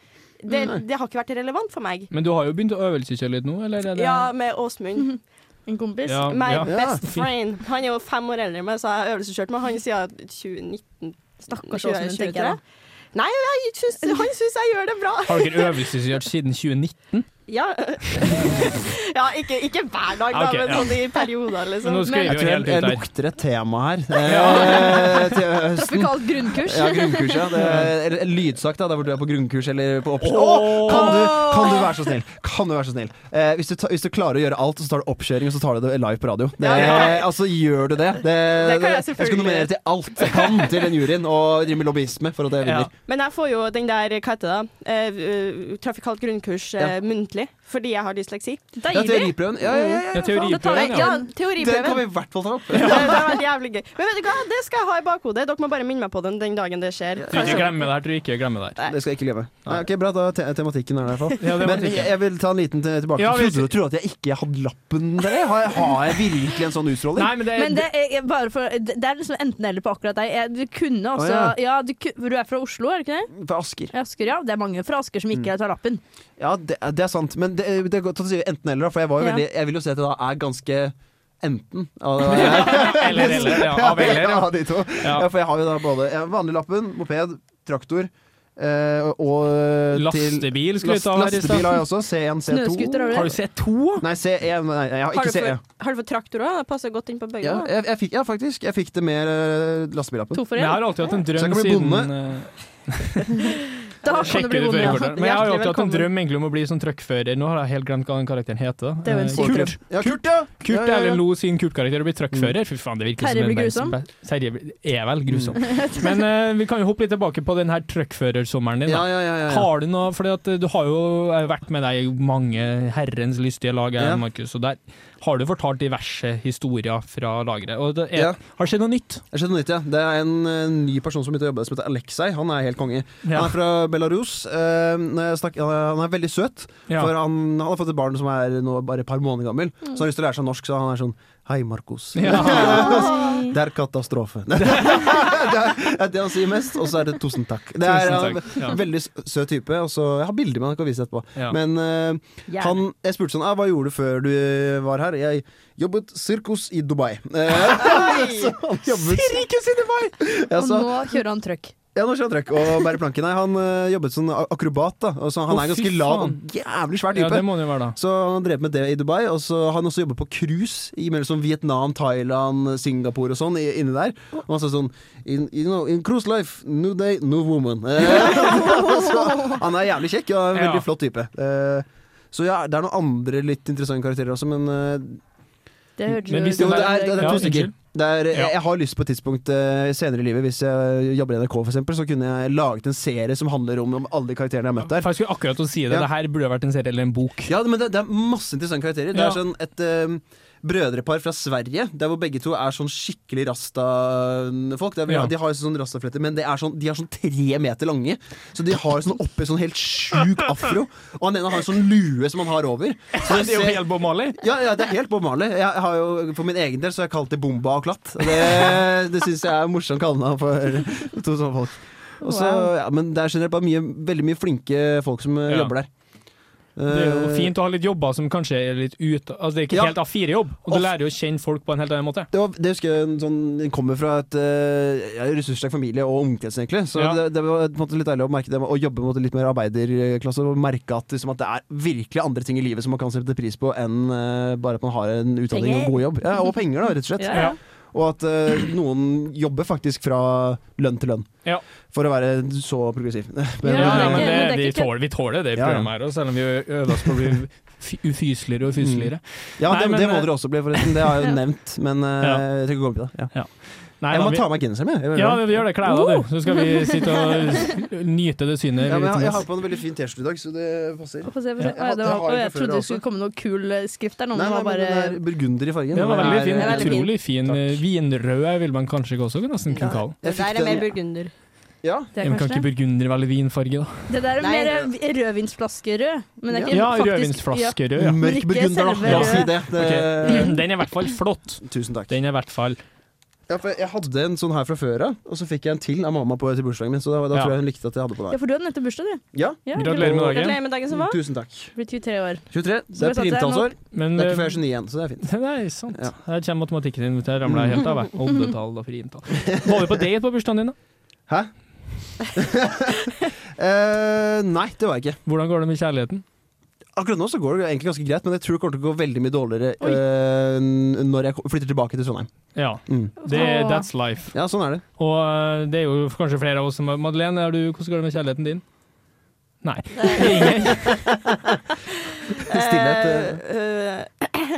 Det, det har ikke vært relevant for meg. Men du har jo begynt å øvelseskjøre litt nå, eller? Er det? Ja, med Åsmund. En kompis. Ja, My ja. best Ja. friend. Han er jo fem år eldre enn meg, så jeg har øvelseskjørt med han siden 2019. Stakkars Åsmund, 2023. tenker jeg da. Nei, jeg synes, han syns jeg gjør det bra. Har dere øvelseskjørt siden 2019? Ja, ja ikke, ikke hver dag, da, Ah, Ok, men ja. sånn i perioder, Men liksom. nå skriver Jeg vi tror jo jeg, helt jeg ut her. lukter et tema her. Eh, til høsten. Tropikalt grunnkurs. Ja, grunnkurs, ja. Det er, eller lydsak, da, der hvor du er på grunnkurs eller på oppkjøring. Åh! Kan, du, kan du være så snill? Kan du være så snill? Eh, hvis, du ta, hvis du klarer å gjøre alt, så tar du oppkjøring, og så tar du det live på radio. Det, Altså, gjør du det? Det, Det kan jeg Jeg skal selvfølgelig nominere til alt jeg kan til den juryen, og drive med lobbyisme for at jeg vinner. Men jeg får jo den der, hva heter det, da? Eh, eh, trafikalt grunnkurs eh, Ja. muntlig, fordi jeg har dysleksi. Ja, teoriprøven. Ja, ja, ja, Ja, ja. teoriprøven, Ja, ja. Den kan teoriprøven. vi i hvert fall ta opp. Det, det har vært jævlig gøy. Men vet du hva, det skal jeg ha i bakhodet. Dere må bare minne meg på den den dagen det skjer. Altså, Tror ikke jeg glemmer det her, tror ikke jeg glemmer det her. Det skal jeg ikke glemme. Nei, ok, Bra, da er te tematikken er der i hvert fall. Ja, det var Men det ikke. jeg vil ta en liten til- tilbake. Ja, vi- Trodde du trodde at jeg ikke hadde lappen der? Har jeg, har jeg virkelig en sånn utstråling? Nei, men det, Men det er, jeg- bare for, det er liksom enten eller på akkurat deg. Jeg- Du kunne også Å, ja. du, ku- du er fra Oslo, er du ikke det? Fra Asker. Asker, ja. Det er mange fra Asker som ikke tar lappen. Ja, det, det er sant. Men det, det er godt å si enten eller, da, for jeg, var jo Ja. veldig, jeg vil jo si at jeg da er ganske enten. Ja, Eller, eller. Ja, av eller, ja. Ja, de to. Ja. for jeg har jo da både jeg har vanlig lappen, moped, traktor eh, og til Lastebil skulle vi last- ta her i Lastebil har stad. jeg også. C1, Snøskuter C2. har du Har du det? sett to? Nei, C1, nei, jeg har Har ikke du C1. for, har du for traktor òg? Det passer godt inn på begge. Ja, da. jeg, jeg fikk, ja, faktisk. Jeg fikk det med eh, lastebillappen. To for Men Jeg én. har alltid hatt en Så jeg drøm kan bli siden bonde. eh, Da kan du Sjekker bli ut bonde. ja. førerkortet. Men jeg har jo Hjertelig alltid hatt en velkommen. drøm egentlig om å bli sånn truckfører. Nå har jeg helt glemt hva den karakteren heter. Det er jo en Eh, syk Kurt. Ja, Kurt, ja! Kurt ja, ja, ja. Mm. Erlend Lo sin Kurt-karakter og blir truckfører. Fy faen, det virker Terje som en blir verdens grusom. best- Terje blir- er vel grusom. Men eh, vi kan jo hoppe litt tilbake på den her truckførersommeren din. Ja, da. ja, ja, ja, ja. Har du noe, fordi at eh, du har jo eh, vært med deg i mange herrens lystige lag, eh, Ja. Markus, og der har du fortalt diverse historier fra lageret. Og det er, Ja. Har det skjedd noe nytt? Jeg skjønner nytt, ja. Det er en eh, ny person som begynte å jobbe der, som heter Aleksei. Han er helt konge. Han Ja. er fra Belarus. eh, når jeg snakker, han, er, han er veldig søt, Ja. for han, han har fått et barn som er nå bare et par måneder gammel. Så han har lyst til å lære seg norsk, så han er sånn Hei, Markus. det er katastrofe. det, er, det er det han sier mest, og så er det tusen takk. Det er Tusen takk, ja. en veldig s- søt type. Og så, jeg har bilder med han, jeg kan vise etterpå. Ja. Men eh, han, jeg spurte sånn, ah, hva gjorde du før du var her? Jeg jobbet sirkus i Dubai. Eh, så han jobbet, sirkus i Dubai! Ja, Og så, nå kjører han trøkk. Ja, nå skjønner jeg trøkk. Og bærer planken. Nei, han øh, jobbet som a- akrobat, da. Og så han Å, er fy ganske lav faen. og jævlig svær Ja, type. det må det jo være, da. så han drev med det i Dubai, og så har han også jobbet på cruise i mellom sånn Vietnam, Thailand, Singapore og sånn i- inni der. Og han sa sånn in, you know, in cruise life, new day, new woman. Eh, så, han er jævlig kjekk og en Ja. veldig flott type. Eh, så ja, det er noen andre litt interessante karakterer også, men eh, Det hørtes Men hvis jo, det det er, det er Ja, to stykker. unnskyld. Det er, Ja. jeg, jeg har lyst på et tidspunkt eh, senere i livet, hvis jeg jobber i NRK for eksempel, så kunne jeg laget en serie som handler om, om alle de karakterene jeg har møtt der. For jeg skulle akkurat å si det. Ja. Det her burde vært en serie eller en bok. Ja, men det, det er masse interessante karakterer. Det Ja. er sånn et eh, brødrepar fra Sverige, der hvor begge to er sånn skikkelig rasta-folk. Det er vel- Ja. De har jo sånn rastafletter, men det er sånn, de er sånn tre meter lange. Så de har sånn oppe sånn helt sjuk afro, og han ene har en sånn lue som han har over. Så det Det er jo ser- helt Bob Marley. ja, ja, det er helt Bob Marley. Jeg har jo, for min egen del så har jeg kalt det Bomba og Klatt. Det, det syns jeg er morsomt kallenavn for to sånne folk. Og så, ja, men det er generelt bare mye, veldig mye flinke folk som eh, Ja. jobber der. Det er jo Eh, fint å ha litt jobber som kanskje er litt ut Altså det er ikke Ja. helt A4-jobb, og du Of- lærer jo å kjenne folk på en helt annen måte. Det, var, det husker jeg en sånn, den kommer fra et eh, ja, ressurssterk familie og omkrets, egentlig. Så Ja. det, det var på en måte litt deilig å merke det, å jobbe mot litt mer arbeiderklasse og merke at, liksom, at det er virkelig andre ting i livet som man kan sette pris på enn eh, bare at man har en utdanning og en god jobb. Ja, og penger, da, rett og slett. Ja. Og at eh, noen jobber faktisk fra lønn til lønn. Ja. For å være så progressiv. Men, Ja, Ja, ja, men men det- det, men det er vi, ikke kødd. tåler, vi tåler det i Ja, ja. programmet her, også, selv om vi øver oss på å bli fy- ufyseligere og ufyseligere. ja, Nei, det, men, det må eh, dere også bli, forresten. Det har jeg jo nevnt. Men eh, Ja. jeg trenger ikke gå inn på det. Ja. jeg Nei, da, må vi- ta av meg genseren, jeg. jeg. ja, vi gjør det. Klær av deg, du. Så skal vi sitte og nyte det synet. Ja, men jeg, litt jeg mest. har på en veldig fin T-skjorte i dag, så det passer. Få se, få se. Ja. Å, ja, det Jeg har var, det å, jeg fra før trodde det også. skulle komme noe kul eh, skrift der. Noen Nei, nei, var men bare den er burgunder i fargen. eh, Den var veldig fin. Den er veldig fin. Utrolig fin. eh, Takk. Vinrød er vel man kanskje også nesten kunne kalle Jeg den. Det fikk der er den- mer burgunder. Ja. det, er Men Kan kanskje ikke det. burgunder velge vinfarge, da? det der er Nei. mer eh, rødvinsflaskerød. Men det er ikke Ja, faktisk- rødvinsflaskerød, ja. Mørk ikke burgunder, da. selve La oss si røde. det. det eh, Ok. Den er i hvert fall flott. Tusen takk. Den er i hvert fall Ja, for jeg hadde en sånn her fra før av, og så fikk jeg en til av mamma på til bursdagen min, så da, da Ja. tror jeg hun likte at jeg hadde på Ja, der. for du hadde nettopp bursdag, du. Ja, Ja, Gratulerer med dagen. Gratulerer med dagen som var. tusen takk. Blir 23 år. Som 23. Det jeg er sa, det er nå- primtallsår. Men eh, Det er ikke før jeg er 29 igjen, så det er fint. Nei, sant. Ja. Her kommer matematikken din. Jeg ramla helt av. jeg. Oddetall og frimtall. Var vi på date på bursdagen din, da? Hæ? Eh, nei, det var jeg ikke. Hvordan går det med kjærligheten? Akkurat nå så går det egentlig ganske greit, men jeg tror det kommer til å gå veldig mye dårligere Oi. eh, når jeg ko- flytter tilbake til Trondheim. Ja, Mm. det, Åh. that's life. Ja, sånn er det. Og eh, det er jo kanskje flere av oss som Madeleine, er du, hvordan går det med kjærligheten din? Nei. Ingen. Stillhet. eh. Eh,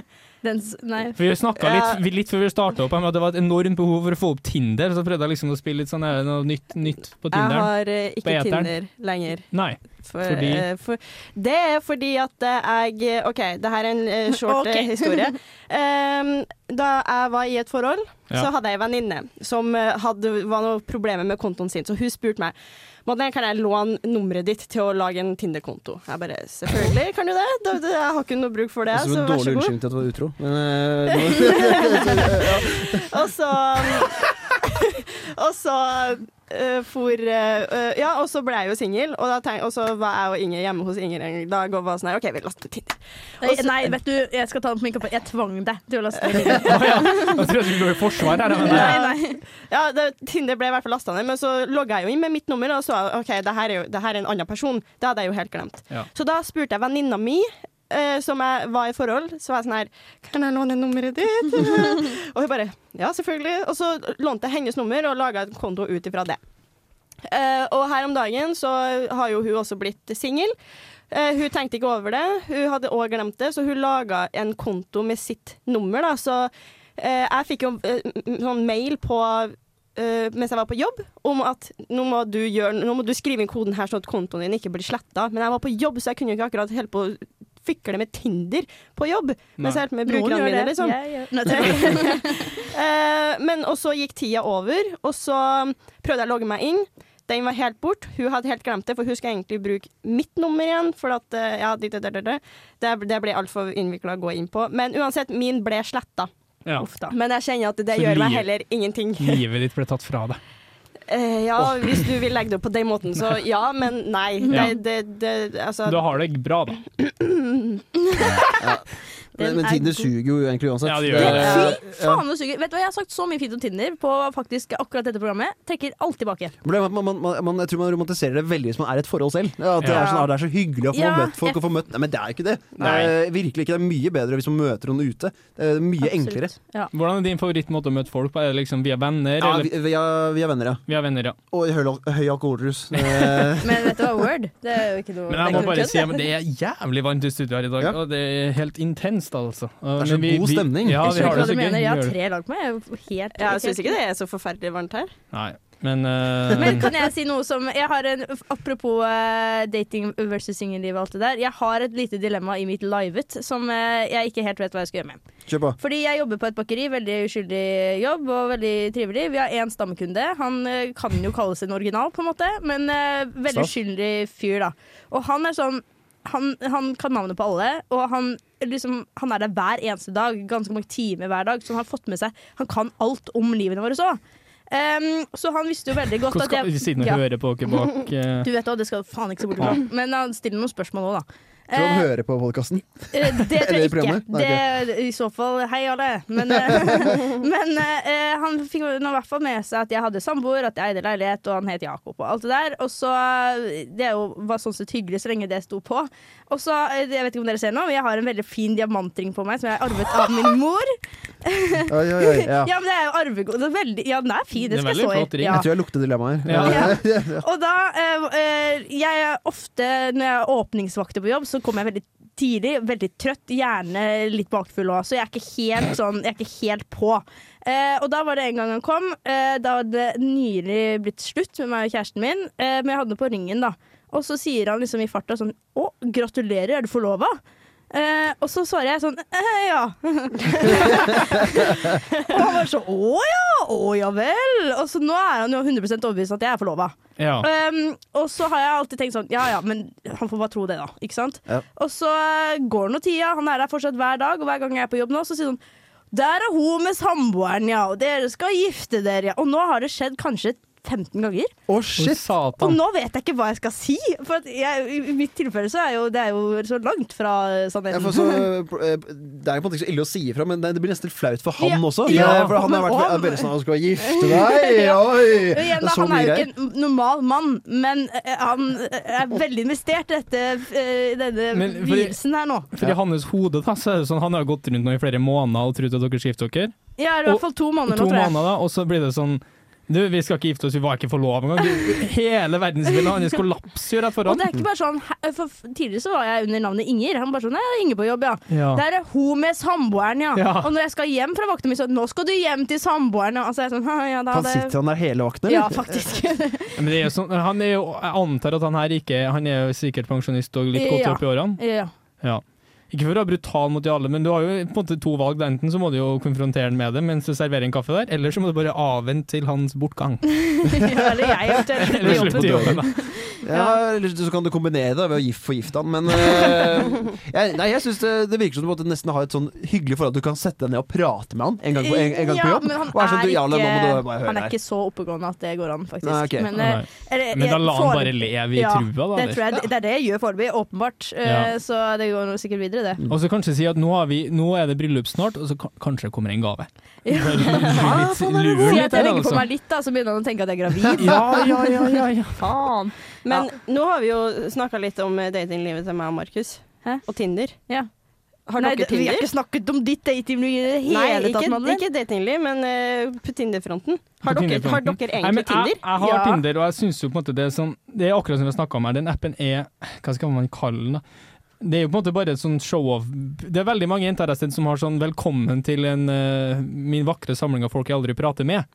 Den, s- nei. For vi snakka Eh. litt, vi- litt før vi starta opp, her med at det var et enormt behov for å få opp Tinder. Så prøvde jeg liksom å spille litt sånn er det noe nytt, nytt på Jeg Tinder. har eh, På ikke eteren. Tinder lenger. Nei. For, Fordi? eh, for, det er fordi at eh, jeg OK, det her er en eh, short eh, Ok. historie. Em, da jeg var i et forhold, Ja. så hadde jeg en venninne som eh, hadde, var noe problemer med kontoen sin, så hun spurte meg Madeleine, kan jeg låne nummeret ditt til å lage en Tinder-konto. Jeg bare selvfølgelig kan du det, da, da, jeg har ikke noe bruk for det, Som så en vær så dårlig god. unnskyldning til at du var utro. eh, Men, eh, Og så um, Og så eh, for eh, eh, Ja, og så ble jeg jo singel, og, da tenk- og så var jeg og Inger hjemme hos Inger en dag og var sånn her OK, vi laster Tinder. Nei, nei, vet du, jeg skal ta den på min kappe. Jeg tvang deg til å laste den. Å ja. Jeg trodde vi lå i forsvar her. Men Nei, nei. Ja, det, Tinder ble i hvert fall lasta ned, men så logga jeg jo inn med mitt nummer, og så OK, det her er jo det her er en annen person. Det hadde jeg jo helt glemt. Ja. Så da spurte jeg venninna mi, eh, som jeg var i forhold, så var jeg sånn her Kan jeg låne nummeret ditt? og hun bare Ja, selvfølgelig. Og så lånte jeg hennes nummer og laga en konto ut ifra det. Eh, og her om dagen så har jo hun også blitt singel. Eh, hun tenkte ikke over det. Hun hadde òg glemt det, så hun laga en konto med sitt nummer, da. Så eh, jeg fikk jo eh, m- m- sånn mail på eh, mens jeg var på jobb, om at nå må, du gjøre, nå må du skrive inn koden her sånn at kontoen din ikke blir sletta. Men jeg var på jobb, så jeg kunne jo ikke akkurat holde på å fikle med Tinder på jobb. Mens jeg holdt med brukerne mine, liksom. Jeg, gjør- Nei, det- Eh, men og så gikk tida over, og så prøvde jeg å logge meg inn. Den var helt bort. Hun hadde helt glemt det, for hun skulle egentlig bruke mitt nummer igjen. For at, eh, ja, det, det, det, det, det, det ble altfor innvikla å gå inn på. Men uansett, min ble sletta. ja. Uff da. Men jeg kjenner at det Så gjør meg liv- heller ingenting. Livet ditt ble tatt fra deg. Eh, ja, hvis du vil legge det opp på den måten, så ja, men nei. Det, Ja. det, det, altså, Du har det bra, da. Men, men Tinder suger jo egentlig uansett. Ja, det gjør er- ja. Faen, det suger. Vet du hva, Jeg har sagt så mye fint om Tinder på faktisk akkurat dette programmet. Trekker alt tilbake. Problemet er at man, man, man, man, jeg tror man romantiserer det veldig hvis man er i et forhold selv. Ja, at det, Ja. er sånn, ah, det er så hyggelig å få Ja, møtt folk. Og få møtt. Nei, men det er jo ikke det. det Nei. er, virkelig ikke. Det er mye bedre hvis man møter noen ute. Det er mye Absolutt. enklere. Ja. Hvordan er din favorittmåte å møte folk på? Er det liksom via venner, Ja, vi, eller vi, er, vi er venner, ja. via venner, ja. Og i høy, høy alkoholrus. Eh, Men vet du hva, Word? Det er jo ikke noe Men jeg det må er bare ikke si kødd, at det er jævlig varmt i studio her i dag, Ja. og det er helt intenst, altså. Det er så god stemning. Ja, Jeg vi skjønner ikke har det hva så du gøy. mener. Jeg Gjør har det. tre lag på meg. Jeg er jo helt Ja, jeg syns ikke det er så forferdelig varmt her. Nei, men, eh, Men kan jeg si noe som jeg har en, Apropos eh, dating versus singelliv og alt det der. Jeg har et lite dilemma i mitt livet som eh, jeg ikke helt vet hva jeg skal gjøre med. Kjør på. Fordi jeg jobber på et bakeri, veldig uskyldig jobb og veldig trivelig. Vi har én stamkunde. Han eh, kan jo kalles en original, på en måte, men eh, veldig Stas. uskyldig fyr, da. Og han er sånn han, han kan navnet på alle, og han, liksom, han er der hver eneste dag. Ganske mange timer hver dag, så han har fått med seg Han kan alt om livene våre òg. så han visste jo veldig godt hvordan at skal vi jeg sitte og Ja. høre på dere bak eh, Du vet da, det skal du faen ikke se bort fra. Men han stiller noen spørsmål òg, da. Tror han Eh, hører på podkasten. Eh, Det tror Eller i jeg ikke. programmet? Nei, Det, I så fall hei, alle. Men, eh, men eh, han fikk nå i hvert fall med seg at jeg hadde samboer, at jeg eide leilighet, og han het Jakob og alt det der. Og så eh, Det er jo, var sånn sett hyggelig så lenge det sto på. Og så, eh, jeg vet ikke om dere ser nå, men jeg har en veldig fin diamantring på meg som jeg arvet av min mor. Oi, oi, oi. Ja. Ja, men det er jo arvegod. det er veldig- Ja, den er fin. Det er Den skal veldig jeg så flott ring. i. Ja. Jeg tror jeg lukter dilemmaet her. Ja. Ja. Og da eh, eh, Jeg er ofte, når jeg er åpningsvakter på jobb, så kommer jeg veldig tidlig, veldig trøtt, gjerne litt bakfull òg, så jeg er ikke helt sånn Jeg er ikke helt på. Eh, og da var det en gang han kom. Eh, da hadde det nylig blitt slutt med meg og kjæresten min, eh, men jeg hadde den på ringen, da. Og så sier han liksom i farta sånn Å, gratulerer, er du forlova? Eh, og så svarer jeg sånn eh, ja. og han var sånn å ja, å ja vel. Og så nå er han jo 100 overbevist om at jeg er forlova. Ja. Um, og så har jeg alltid tenkt sånn Ja ja, men han får bare tro det, da. Ikke sant? Ja. Og så eh, går nå tida. Han er der fortsatt hver dag, og hver gang jeg er på jobb nå, så sier han Der er hun med samboeren, ja, og dere skal gifte dere, ja. Og nå har det skjedd kanskje 15 ganger. Å, Å, shit! Og Satan. nå vet jeg ikke hva jeg skal si. For at jeg, i- i mitt tilfelle så er jo det er jo så langt fra eh, Jeg sannheten. får så, eh, det er jo på en måte ikke så ille å si ifra, men det det blir nesten litt flaut for han Ja. også. Ja. Eh, for han har Men vært han- er veldig sånn 'Å, skal du gifte deg?' Ja. Oi! Og igjen, Det da, han så mye er jo greier. ikke en normal mann, men eh, han eh, er veldig investert i dette, eh, denne Men fordi- vielsen her nå. For i hans hode da, så er det sånn, han har jo gått rundt nå i flere måneder og trodd at dere skifter dere. Ja, i Og- hvert fall to måneder To nå, tror jeg. måneder da, og så blir det sånn du, Vi skal ikke gifte oss, vi var ikke forlova engang. Du, Hele verdensbildet hans kollapser jo rett Og foran. det er ikke bare sånn hæ- For f- tidligere så var jeg under navnet Inger. Han bare sånn Nei, jeg har Inger på jobb, ja. Ja. Der er eh, hun med samboeren, ja. Ja. Og når jeg skal hjem fra vakta mi, sånn Nå skal du hjem til samboeren, ja. Altså, jeg er sånn, «Hæ, ja, da, Han det... sitter han der hele vakten, Ja, eller? faktisk. Men det er jo sånn, han er jo, jeg antar at han her ikke Han er jo sikkert pensjonist og litt godt Ja. opp i årene. ja. Ja. Ikke for å være brutal mot de alle, men du har jo på en måte to valg. Enten så må du jo konfrontere han med det mens du serverer en kaffe der, eller så må du bare avvente til hans bortgang. ja eller jeg eventuelt slutter i Eller jobben. slutte i jobben, da. Ja, eller så kan du kombinere det ved å gif- forgifte han, men eh, jeg, Nei, jeg syns det, det virker som du måtte nesten ha et sånn hyggelig forhold. Du kan sette deg ned og prate med han en gang på, en, en gang på Ja, jobb. men han Og er sånn, du, er Jarle, nå må du ikke- bare Han høre er her. ikke så oppegående at det går an, faktisk. Nei, ok. Men, eh, Nei. eller, Men da jeg- la han foreløpig- bare leve i Ja, trua, da. Det, eller? tror jeg, det er det jeg gjør foreløpig, åpenbart. Eh, Ja. Så det går nå sikkert videre, det. Og så kanskje si at nå, har vi, nå er det bryllup snart, og så kan- kanskje det kommer en gave. Bare lure litt- lure Si litt at jeg der, legger på altså. meg litt, da, så begynner han å tenke at jeg er gravid. Ja, ja, ja, ja, ja. Faen. Men nå har vi jo snakka litt om eh, datinglivet til meg og Markus. Hæ? Og Tinder. Ja. Har Nei, dere det- vi har Tinder? ikke snakket om ditt datingliv i det Nei, hele tatt, ikke, Madeleine. ikke datingliv, men eh, på Tinder-fronten. Har, På dere- Tinder-fronten. har dere egentlig Nei, men Tinder? Jeg, jeg har Ja. Tinder, og jeg synes jo på en måte det er sånn Det er akkurat som vi har snakka om her, den appen er Hva skal man kalle den, da? Det er jo på en måte bare et sånn show-off Det er veldig mange jenter jeg har sett som har sånn 'velkommen til en, eh, min vakre samling av folk jeg aldri prater med'.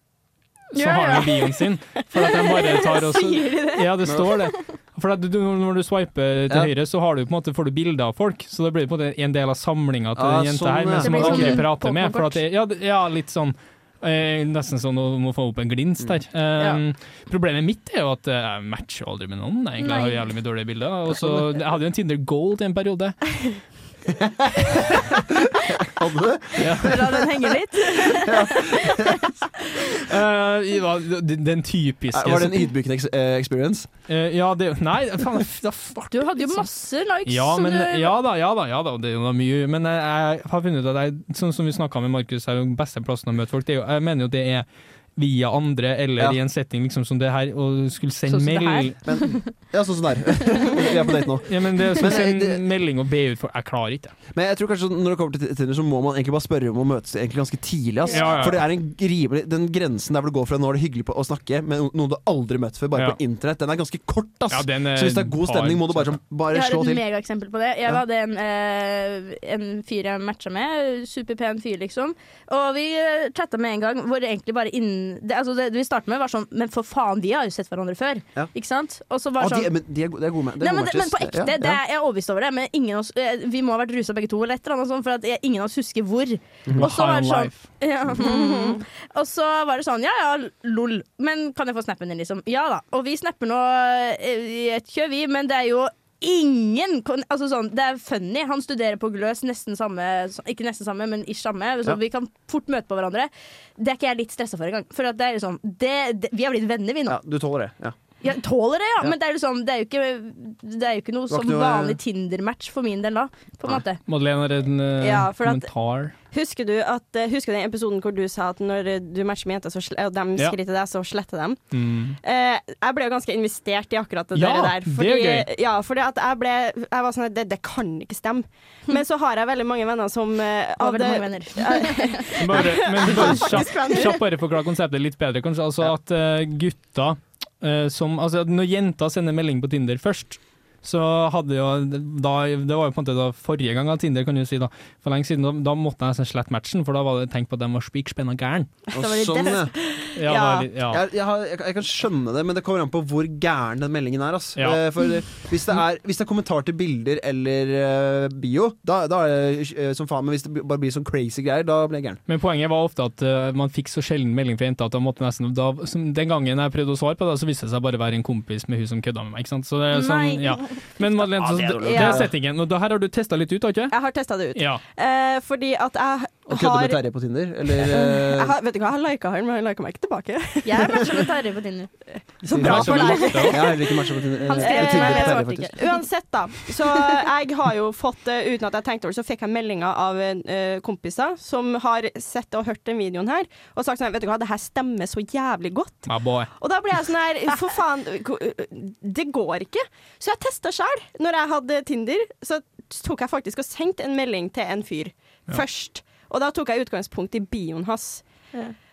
Så Ja, har ja. de bioen sin. For at de bare tar og så- Ja, det står det. For at du, når du swiper til Ja. høyre, så har du på en måte, får du bilder av folk. Så det blir på en måte en del av samlinga til Ah, den jenta sånn, her, ja. men som Det man blir aldri sånn prater med. For Pokémon-kort. at det, ja, det- ja, litt sånn Eh, nesten sånn å må få opp en Mm. glins der. Eh, Problemet mitt er jo at eh, jeg matcher aldri med noen. Egentlig. Jeg har Nei. jævlig mye dårlige bilder. Og så, jeg hadde jo en Tinder Gold i en periode. Hadde du? La den henge litt. Eh, i- hva- den, den typiske Eh, Var det en ydmykende eks- eh, experience? Eh, ja, det, nei, faen, da fuck. liksom. Du hadde jo masse likes. Ja, som men, eh, du, ja da, ja da, ja da, det var mye. Men jeg, jeg har funnet ut at jeg, sånn som vi snakka med Markus, er jo beste plassen å møte folk. Det er jo, jeg mener jo det er via andre, eller Ja. i en setting liksom som det her, og skulle sende Sånn som det melding Men, ja, sånn som det er. Vi er på date nå. Ja, men det å skulle Men, eh, sende det- melding og be ut for Jeg klarer ikke. Men jeg tror kanskje sånn, når det kommer til Tinder, så må man egentlig bare spørre om å møtes egentlig ganske tidlig. Ass. Ja, ja, ja. For det er en rimelig, den grensen der hvor det går fra nå er det hyggelig på å snakke med noen du aldri møtt før, bare Ja. på internett, den er ganske kort. Ass. Ja, den eh, er så hvis det er god stemning, må du bare, sånn, Jeg bare har slå et til. megaeksempel på det. Jeg Ja. hadde en, eh, en fyr jeg matcha med. Superpen fyr, liksom. Og vi eh, chatta med en gang hvor det egentlig bare innen det, altså det, det vi startet med, var sånn Men for faen, vi har jo sett hverandre før. Ja. Ikke sant? Og så Ah, var de, sånn men de er gode, de er gode, ma- de Nei, er men, gode det- men matches. på ekte, Ja, ja. det er, jeg er overbevist over det. Men ingen av oss, eh, vi må ha vært rusa begge to, eller et eller annet sånt, for at eh, ingen av oss husker hvor. Og så var det sånn ja. Og så var det sånn, ja ja, lol, men kan jeg få snappen din, liksom? Ja da. Og vi snapper nå eh, i et kjør, vi, men det er jo ingen kon- Altså sånn, det er funny. Han studerer på Gløs nesten samme Ikke nesten samme, men ish samme, så Ja. vi kan fort møte på hverandre. Det er ikke jeg litt stressa for engang. For at det er liksom det, det, Vi har blitt venner, vi nå. Ja, du tåler det. Ja. Jeg tåler det, ja, Ja. men det er, liksom, det er jo ikke Det er jo ikke noe Det var som ikke noe- vanlig Tinder-match for min del da, på en Nei. måte. Madeleine har en eh, Ja, for at- kommentar. Husker du at, eh, husker du den episoden hvor du sa at når eh, du matcher med jenter, så sl- eh, og de Ja. skriver til deg, så sletter dem? Mm. Eh, jeg ble jo ganske investert i akkurat det Ja, der. det er Fordi, gøy. Ja, fordi at jeg ble Jeg var sånn at det, det kan ikke stemme. Men så har jeg veldig mange venner som eh, Hm. Har veldig mange hadde- venner. Bare, men bare kjapt, Faktisk venner. kjapt bare forklare konseptet litt bedre, kanskje. Altså Ja. at eh, gutta eh, som Altså at når jenter sender melding på Tinder først, så hadde jo da, Det var jo på en måte da forrige gang av Tinder, kan du si, da. For lenge siden. Da, da måtte jeg nesten slette matchen, for da var det tenkt på at de var spikspenna gæren. Og var litt sånn, ja. Ja, Ja. da er det- ja. Jeg, jeg, har, jeg, kan- jeg kan skjønne det, men det kommer an på hvor gæren den meldingen er. Ass. Ja. Eh, for eh, hvis det er, hvis det er kommentar til bilder eller eh, bio, da, da er det eh, som faen. Men hvis det b- bare blir sånn crazy greier, da blir jeg gæren. Men poenget var ofte at eh, man fikk så sjelden melding fra jenta at da måtte nesten da, som, Den gangen jeg prøvde å svare på det, så viste det seg bare å være en kompis med hun som kødda med meg. Ikke sant? Så det er sånn, Nei. ja. Men Madeleine, så, det, Ja. er settingen. Og da, her har du testa litt ut, har du ikke? Jeg har testa det ut. Ja. Eh, fordi at jeg Å kødde med har, Terje på Tinder, eller jeg eh, har Vet du hva, jeg lika han, men han lika meg ikke tilbake. Jeg er matcha sånn med Terje på Tinder. Så bra for deg. Jeg har heller ikke matcha på Tinder. Han eh, skrev Tinder til meg, på Terje, jeg svarte ikke. faktisk. Uansett, da. Så jeg har jo fått, eh, uten at jeg tenkte over det, så fikk jeg meldinger av eh, kompiser som har sett og hørt den videoen her, og sagt sånn Vet du hva, det her stemmer så jævlig godt. My boy. Og da ble jeg sånn her For faen, det går ikke. Så jeg testa sjøl. Når jeg hadde Tinder, så tok jeg faktisk og sendte en melding til en fyr først. Og da tok jeg utgangspunkt i bioen hans.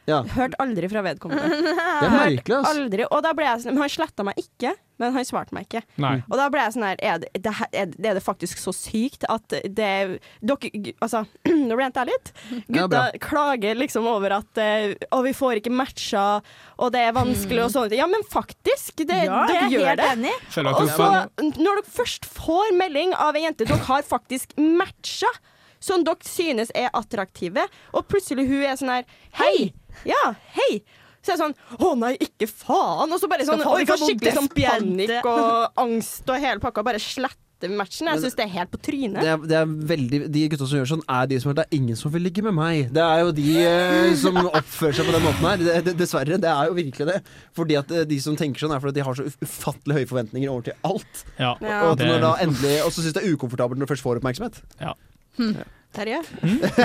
Ja. Hørte aldri fra vedkommende. Det er merkelig, ass. Aldri. Og da ble jeg sånn Men han sletta meg ikke. Men han svarte meg ikke. Nei. Og da ble jeg sånn her Er det, det, her- er det, er det faktisk så sykt at det Dere gu- Altså, nå rant jeg litt. Ja, Gutta bra. klager liksom over at eh, Å, vi får ikke matcha, og det er vanskelig og sånne ting. Ja, men faktisk! Det, Ja, jeg dere er gjør helt det. enig. Føler at Og du så, når dere først får melding av ei jente dere har faktisk matcha, som dere synes er attraktive, og plutselig hun er sånn her Hei! Ja, hei! Så er jeg sånn Å nei, ikke faen! Og så bare sånn faen oi, ikke får skikkelig sånn despante. panikk og angst og hele pakka. Bare slette matchen. Jeg syns det er helt på Det trynet. er, det er veldig, de gutta som gjør sånn, er de som er Det er ingen som vil ligge med meg. Det er jo de eh, som oppfører seg på den måten her. Det, det, dessverre. Det er jo virkelig det. Fordi at eh, de som tenker sånn, er fordi at de har så uf- ufattelig høye forventninger over til alt. Ja. Og, at Det- når da endelig, og så syns det er ukomfortabelt når du først får oppmerksomhet. Terje?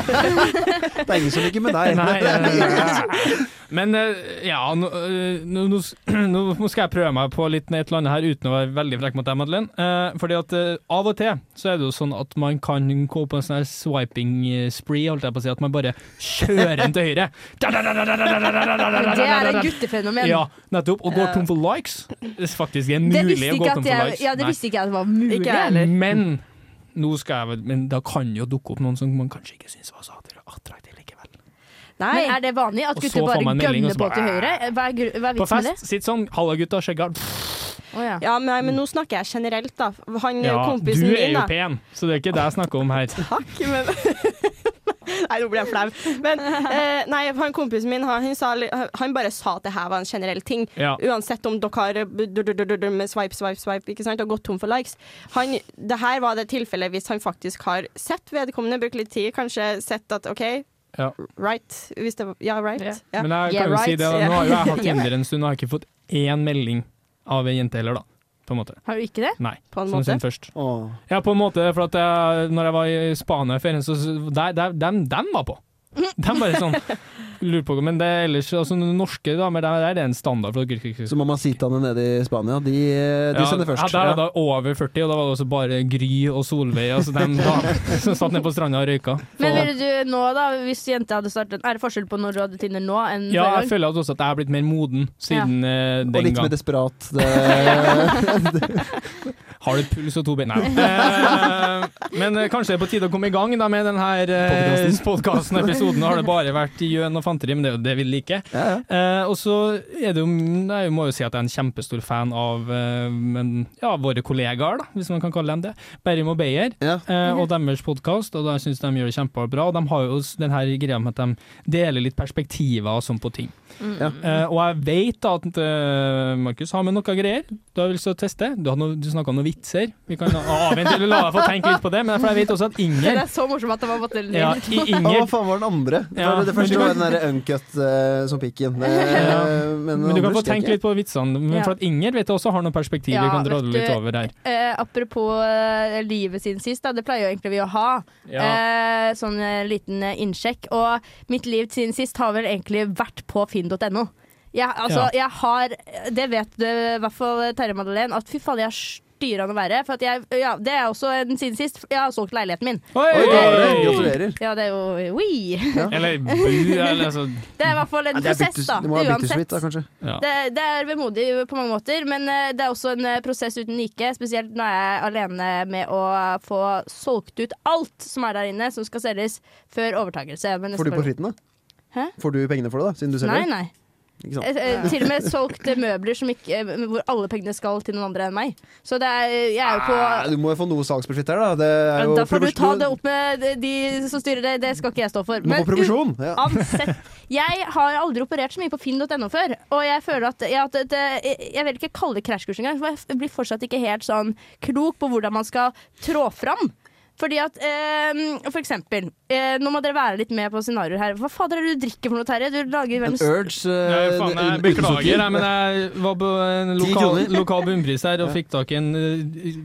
Det er ingen som ligger med deg. Nei, eh, men eh, ja, nå, eh, nå, nå s- nå nå skal jeg prøve meg på litt med et eller annet her uten å være veldig frekk mot deg, Madeleine. Eh, fordi at eh, av og til så er det jo sånn at man kan gå på en sånn her swiping eh, spree, holdt jeg på å si, at man bare kjører den til høyre. Da, da, da, da, da, da, da, da, da, da, da, Det er da, da. et guttefenomen. Ja, nettopp. Og går tom for likes. Det er faktisk er Det mulig visste å gå ikke tom at for jeg, likes. ja, det Nei. visste ikke jeg at det var mulig. Ikke jeg heller. Men nå skal jeg vel Men da kan jo dukke opp noen som man kanskje ikke syns var så attraktiv likevel. Nei. Men er det vanlig at Og så gutter får bare man en melding, og gønner så på bare- til høyre? Hva er, gru- hva er På vitsen med det? fest, sitt sånn. Halla, gutta, sjekk av. Å, ja. Ja, men, men nå snakker jeg generelt, da. Han Ja, du kompisen er min, jo da. pen, så det er ikke det jeg snakker om her. Takk, men Nei, nå blir jeg flau. Men eh, nei, han kompisen min han, han, sa, li- han bare sa at det her var en generell ting. Ja. Uansett om dere har eh, bu- du- du- du- du- du- med swipe, swipe, swipe ikke sant? og gått tom for likes. Han, det her var det tilfellet hvis han faktisk har sett vedkommende, brukt litt tid, kanskje sett at OK, Ja. right. Hvis det, var- ja, right. Ja. Ja. Men jeg Yeah, kan jo si right. det, at nå har jo jeg hatt Yeah. Tinder en stund, og jeg har ikke fått én melding av ei jente heller, da. På en måte. Har du ikke det? Nei. På en Som måte. sin først. Åh. Ja, på en måte, for at jeg, når jeg var i Spania i ferien, så så- der, der, dem, dem var på. Dem bare sånn Lurer på Men det er ellers altså, Norske damer, der, der er det en standard. For dere ikke Så mammasitaene nede i Spania, de, eh, de sender først. Ja, der Ja. er det over 40, og da var det også bare Gry og Solveig altså dem da, som satt nede på stranda og røyka. Men Så- ville du nå, da, hvis jenta hadde startet Er det forskjell på når du hadde Tinder nå enn ja, før? jeg føler at også at jeg har blitt mer moden siden eh, Og den litt gang. mer desperat. eh, Det, Har du puls og to bein? Nei. Eh, men eh, kanskje det er på tide å komme i gang da, med denne podkasten og episoden. Har det bare vært gjøn og fanteri, men det er jo det vi liker. ja, ja. Eh, og så er det jo, jeg må jo si at jeg er en kjempestor fan av eh, men, ja, våre kollegaer, da, hvis man kan kalle dem det. Berrim og Beyer. Ja. Eh, og deres podkast, og jeg syns de gjør det kjempebra. Og de har jo s- den her greia med at de deler litt perspektiver og sånn på ting. Ja. Mm. Eh, og jeg vet at eh, Markus har med noe greier du har lyst til å teste. Du, har noe- du snakka om noen vitser. Vi kan avvente eller la deg få tenke litt på det, men for jeg vet også at Det Inger er så morsomt at det var måtte ja, i- Å, hva Inger faen var den andre? Det, Ja, var det, det første men du- var den der uncut eh, som pikk inn. Ja. Men, men du kan få tenke tenke litt på vitsene, men Ja. for at Inger vet jeg også har noen perspektiv vi Ja, kan dra vet litt du- over her. Eh, apropos eh, livet siden sist, da, det pleier jo egentlig vi å ha. Ja. Eh, sånn eh, liten eh, innsjekk. Og mitt liv siden sist har vel egentlig vært på finn.no. Jeg, altså, Ja. jeg har Det vet du, i hvert fall eh, Terje Madeleine, at fy faen, jeg har styrende å være. For at jeg, ja, det er også en siden sist. Jeg har solgt leiligheten min. Oi! Oi, gratulerer. gratulerer. Ja, det er jo oui. Eller bu, eller altså Det er i hvert fall en Ja, det er prosess, bitters- da. det må være uansett. bittersweet, da, kanskje. ja. Det, det er vemodig på mange måter, men eh, det er også en eh, prosess uten like. Spesielt når jeg er alene med å få solgt ut alt som er der inne, som skal selges før overtakelse. Men Får du på neste- fritten, da? Hæ? Får du pengene for det, da, siden du Nei, selger? nei. Ikke sant? Eh, eh, Til og med solgt eh, møbler som ikke, eh, hvor alle pengene skal til noen andre enn meg. Så det er, jeg er jo på Nei, du må jo få noe salgsbudsjett her, da. Det er jo Da får du provisjon- ta det opp med de- de som styrer det, det skal ikke jeg stå for. Du må Men få provisjon! Ja. Uansett, jeg har aldri operert så mye på finn.no før, og jeg føler at jeg, har hatt et, eh, jeg vil ikke kalle det krasjkurs engang, for jeg blir fortsatt ikke helt sånn klok på hvordan man skal trå fram. Fordi at, eh, for eksempel, eh, nå må dere være litt med på scenarioer her. Hva fader er det du drikker for noe, Terje? Du lager En verdens urge Nei, eh, faen, jeg uten beklager, sukker. jeg, men jeg var på en Ti lokal, kroner. lokal bunnpris her og Ja. fikk tak i en eh,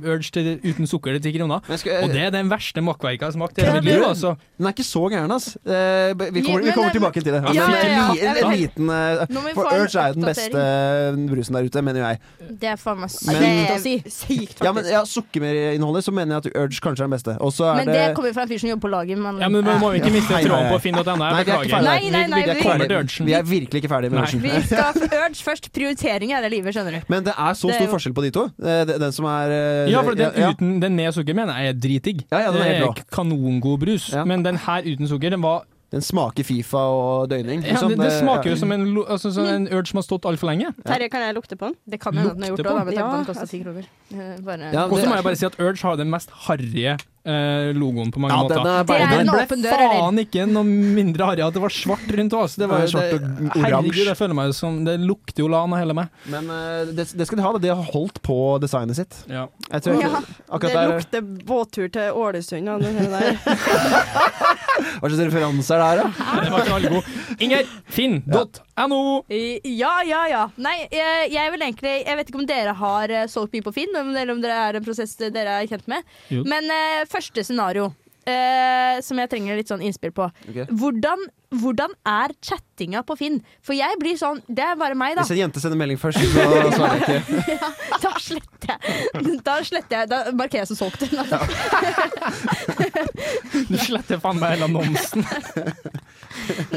Urge til, uten sukker til ti kroner. Men jeg skal- Og det er den verste makkverket jeg har smakt i Ja, hele mitt det- liv, altså. Den er ikke så gæren, ass. Eh, b- vi kommer, Ja, vi men- kommer tilbake til det. Ja, Men ja, ja. en li- en, en liten eh, Nå må vi For få en Urge er jo den beste brusen der ute, mener jo jeg. Det er faen meg Men- sykt å si. Sykt, Ja, men faktisk. ja, Sukkermerinnholdet, så mener jeg at Urge kanskje er den beste. Og så er Men det, det kommer fra en fyr som jobber på laget. Men, Ja, men nå må vi ikke miste Nei, nei, tråden nei. på finn.no, Nei, jeg vi er ikke beklager. ferdig. Nei, nei, nei, vi, vi- vi kommer til urgen. vi er virkelig ikke ferdig med Nei. Urgen. vi skal urge først. Prioritering er det livet, skjønner du. Men det er så Det er stor jo- forskjell på de to. Eh, det- Den som er eh, Ja, for den ja, uten den med sukker mener jeg er dritdigg. Ja, ja, den er det helt er kanongod brus. Ja. Men den her uten sukker, den var Den smaker Fifa og døgning. ja, liksom. det, det Det- smaker ja. jo som en, lo- altså, sånn Mm. en urge som har stått altfor lenge. Terje, kan jeg lukte på den? Det kan hende at den har gjort Lukter det, på da, med tanke på den. at den koster ti kroner. Eh, Bare. Ja, Og så det- sånn. må jeg bare si at Urge har den mest harrige eh, logoen på mange ja, måter. den er Det bare er den. en ble åpen dør, eller? faen ikke noe mindre harry at det var svart rundt oss. Det var Ja, jo svart det, og herregud, oransje. jeg føler meg som Det lukter jo lan av hele meg. Men eh, det, det skal de ha. da. De har holdt på designet sitt. Jeg tror Ja, ikke, akkurat det der lukter båttur til Ålesund. Og det der. Hva slags referanser det er, da? Ah. Den var ikke alle god. Inger, finn.no. Eh, Ja, ja, ja. Nei, jeg, jeg vil egentlig Jeg vet ikke om dere har eh, solgt mye på Finn, om- eller om dere er en prosess dere er kjent med. Jo. Men eh, første scenario, eh, som jeg trenger litt sånn innspill på. Ok. Hvordan, hvordan er chattinga på Finn? For jeg blir sånn Det er bare meg, da. Hvis en jente sender melding først, så svarer jeg ikke. Da sletter jeg. Da, sletter jeg. da markerer jeg som solgt. Du sletter faen meg hele annonsen.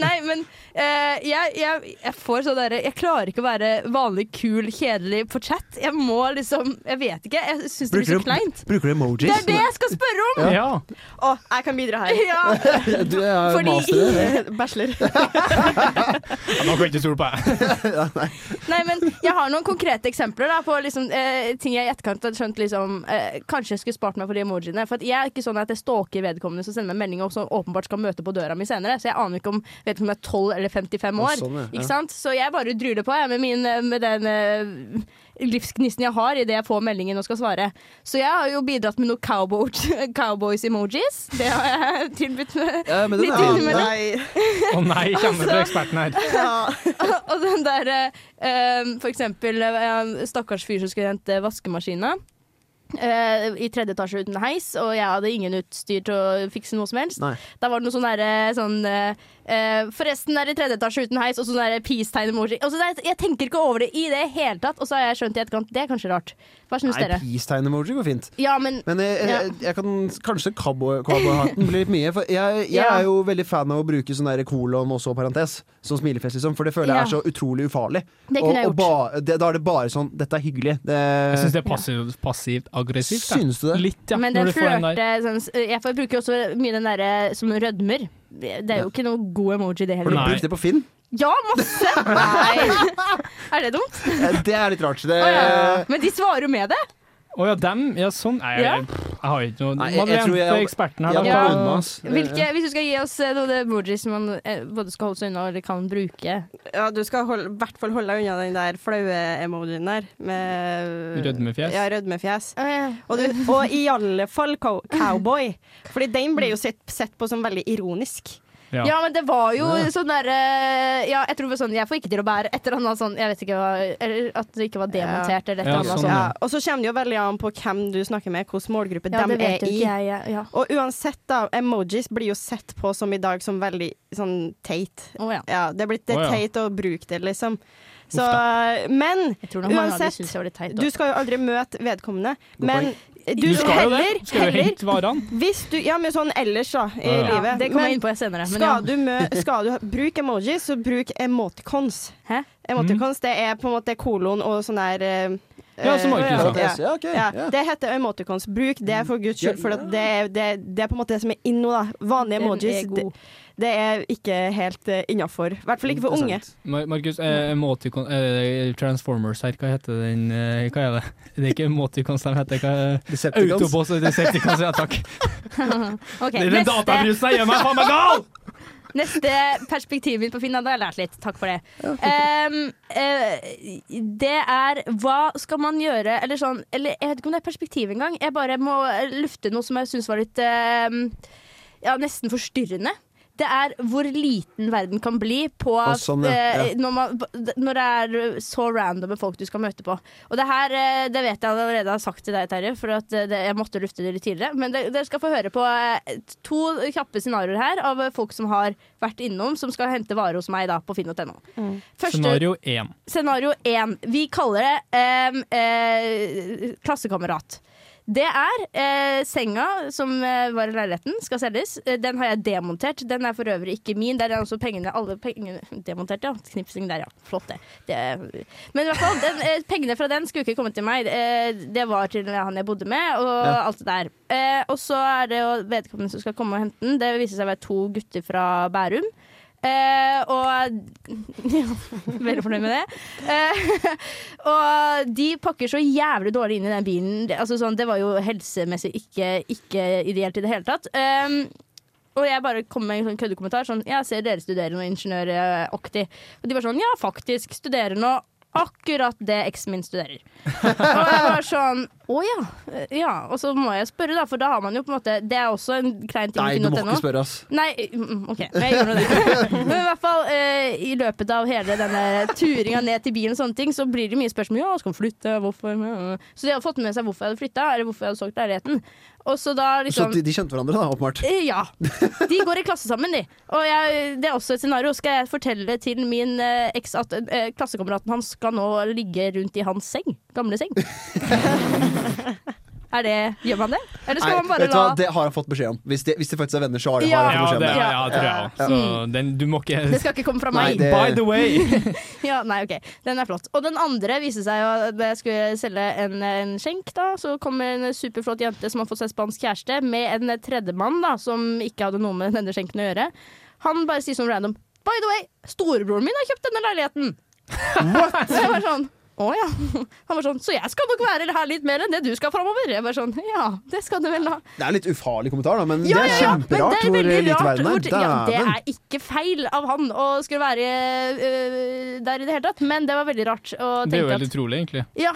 Nei, men eh, jeg, jeg, jeg får sånn derre Jeg klarer ikke å være vanlig kul, kjedelig på chat. Jeg må liksom Jeg vet ikke. Jeg syns det blir så Bruker kleint. du, bruker du emojis? Det er det jeg skal spørre om! Ja. Å, jeg kan bidra her. Ja, Du er jo fordi master i det. Bachelor. Nå kan jeg ikke stole på deg. Nei, men jeg har noen konkrete eksempler da, på liksom, eh, ting jeg i etterkant har skjønt liksom, eh, Kanskje jeg skulle spart meg for de emojiene. For at jeg er ikke sånn at jeg stalker vedkommende som sender meg meldinger og som åpenbart skal møte på døra mi senere. Så jeg aner ikke om vedkommende er 12 eller 55 år. Å, sånn, ja. Ja. Ikke sant? Så jeg bare dryler på jeg, med, min, eh, med den eh, livsgnisten jeg har idet jeg får meldingen og skal svare. Så jeg har jo bidratt med noen cowboy, cowboys-emojis. Det har jeg tilbudt meg. Ja, men den Litt er, til med- Nei. Å nei, kommer det fra eksperten her. Ja. og den der eh, um, For eksempel eh, stakkars fyr som skulle hente vaskemaskina. eh, I tredje etasje uten heis, og jeg hadde ingen utstyr til å fikse noe som helst. Nei. Da var det noe sånn derre sånn eh, eh, Forresten er det tredje etasje uten heis, og sånn derre peace-tegn-emoji. Og så der- Jeg tenker ikke over det i det hele tatt, og så har jeg skjønt i etterkant. Det er kanskje rart. Hva syns Nei, dere? peace-tegn-emoji går fint. Ja, men Men jeg, Ja. jeg, jeg kan kanskje cowboyhatten blir litt mye. For jeg, jeg Ja. er jo veldig fan av å bruke sånn der kolon og så parentes. Som smilefjes, liksom. For det føler jeg er Ja. så utrolig ufarlig. Det og, kunne jeg og ba, det, da er det bare sånn Dette er hyggelig. Det, Jeg syns det er passivt, passivt aggressivt. da. Syns du det? Litt, ja. men når den du får den der. flørte sånn, s- Jeg får- bruker jo også mye den derre som rødmer. Det er jo ikke noe god emoji, det Har du heller. Nei. brukt det på Finn? Ja, masse! Nei. Er det dumt? Eh, Det er litt rart. Det, Å, Eh. ja. Men de svarer jo med det. Å ja, dem? Ja, sånn. Nei, jeg, Ja. jeg, har ikke noe Nei, jeg- jeg tror Madeleine, jeg- du er eksperten her. Jeg da. Ja. tar unna, ass. Hvilke, hvis du skal gi oss eh, noen emojis som man eh, både skal holde seg unna eller kan bruke. ja, du skal holde- i hvert fall holde deg unna den der flaue emojien der. Med Rødmefjes. Ja, rødmefjes. Å Og, du, og i alle fall cow cowboy. Fordi den ble jo sett, sett på som veldig ironisk. Ja. Ja, men det var jo sånn derre Ja, jeg tror det var sånn Jeg får ikke til å bære et eller annet sånn Jeg vet ikke hva Eller at det ikke var demontert eller et eller Ja, annet sånn, sånn. ja. Ja, og så kommer det jo veldig an på hvem du snakker med, hvilken målgruppe Ja, de det vet er jo i. ikke jeg. Ja. ja. Og uansett, da, emojis blir jo sett på som i dag som veldig sånn teit. Å, ja. Ja, det er blitt det er Å, ja. teit å bruke det, liksom. Så, Uff men Jeg tror nok mange av de Uansett, syns jeg var litt teit. du også. skal jo aldri møte vedkommende. Men du, Du skal jo det. heller, Skal jo heller hente varene. Hvis du Ja, men sånn ellers, da, i Ja, ja. ja, livet. det kommer Men jeg inn på senere. Men ja. skal du, mø skal du bruke emojis, så bruk emoticons. Hæ? Emoticons, det er på en måte kolon og sånn der eh, Ja, som Markus sa. ja. Parentes, ja, ok, Ja, ja. det heter emoticons. Bruk det for guds skyld, for at det, er- det, det er på en måte det som er inno. da Den Vanlige er emojis det, god. det er ikke helt uh, innafor. I hvert fall ikke for unge. Interessant. Mar- Markus, eh, emoticon, eh, Transformers her, hva heter den eh, Hva er det? Det er ikke emoticons de heter. Hva, Decepticons. Autoboss og Decepticons, ja takk. Ok, Det er den neste. databrusen jeg gjør meg faen meg gal! Neste perspektiv mitt på Finn, da har jeg lært litt. Takk for det. Ehm, eh, det er hva skal man gjøre, eller sånn eller, Jeg vet ikke om det er perspektiv engang. Jeg bare må lufte noe som jeg syns var litt ehm, Ja, nesten forstyrrende. Det er hvor liten verden kan bli på Å, sånn, ja. eh, Ja. når, man, når det er så random folk du skal møte på. Og det her eh, det vet jeg allerede har sagt til deg, Terje, for at eh, det, jeg måtte lufte det litt tidligere. Men det, dere skal få høre på eh, to kjappe scenarioer her av eh, folk som har vært innom, som skal hente varer hos meg da, på finn.no. Første Scenario én. scenario én. Vi kaller det em, eh, klassekamerat. Det er eh, senga som eh, var i leiligheten, skal selges. Eh, Den har jeg demontert. Den er for øvrig ikke min. Der er også pengene alle pengene, Demontert, ja. Knipsing der, ja. Flott, det. det men i hvert fall, den, eh, pengene fra den skulle ikke komme til meg. Eh, det var til han jeg bodde med, og Ja. alt det der. Eh, og så er det jo vedkommende som skal komme og hente den. Det viser seg å være to gutter fra Bærum. Eh, og ja, Veldig fornøyd med det. Eh, og de pakker så jævlig dårlig inn i den bilen. Det- Altså, sånn, det var jo helsemessig ikke, ikke ideelt i det hele tatt. Eh, og jeg bare kom med en sånn køddekommentar sånn Jeg ser dere studerer noe ingeniøraktig. Og de var sånn Ja, faktisk. Studerer nå akkurat det eksen min studerer. Og jeg var sånn Å ja. eh, Ja. Og så må jeg spørre, da, for da har man jo på en måte Det er også en klein ting Nei, i du må finn.no. ikke spørre, ass. Nei, mm, OK. Men jeg gjorde det. Men i hvert fall eh, i løpet av hele denne turinga ned til bilen, og sånne ting, så blir det mye spørsmål. Ja, skal man flytte? Hvorfor? Så de hadde fått med seg hvorfor jeg hadde flytta, eller hvorfor jeg hadde solgt leiligheten. Og så da Så liksom de, de kjente hverandre, da, åpenbart. Eh, Ja. De går i klasse sammen, de. Og jeg, det er også et scenario. Skal jeg fortelle til min eh, eks at eh, klassekameraten hans skal nå ligge rundt i hans seng? Gamle seng. Er det, gjør man det? Eller skal Nei, man bare vet du la hva, det har han fått beskjed om. Hvis de, hvis de faktisk er venner, så har har Ja. han Ja, fått beskjed om det det. ja, tror jeg også. Så den, du må ikke Det skal ikke komme fra Nei, meg. det- By the way! Ja, nei, ok. Den er flott. Og den andre viste seg jo at da jeg skulle selge en, en skjenk, da, så kom en superflott jente som har fått seg spansk kjæreste, med en tredjemann da, som ikke hadde noe med denne skjenken å gjøre. Han bare sier sånn random By the way, storebroren min har kjøpt denne leiligheten! What? Jeg var sånn å ja. Han var sånn, så jeg skal nok være her litt mer enn det du skal framover. Jeg var sånn, ja, det skal du vel da. Det er en litt ufarlig kommentar, da, men Ja, ja, det er ja, kjemperart men hvor det er veldig lite rart verden er. hvor- Ja, det Dæven. er ikke feil av han å skulle være øh, der i det hele tatt, men det var veldig rart. å Det er jo tenke helt at, utrolig, egentlig. ja,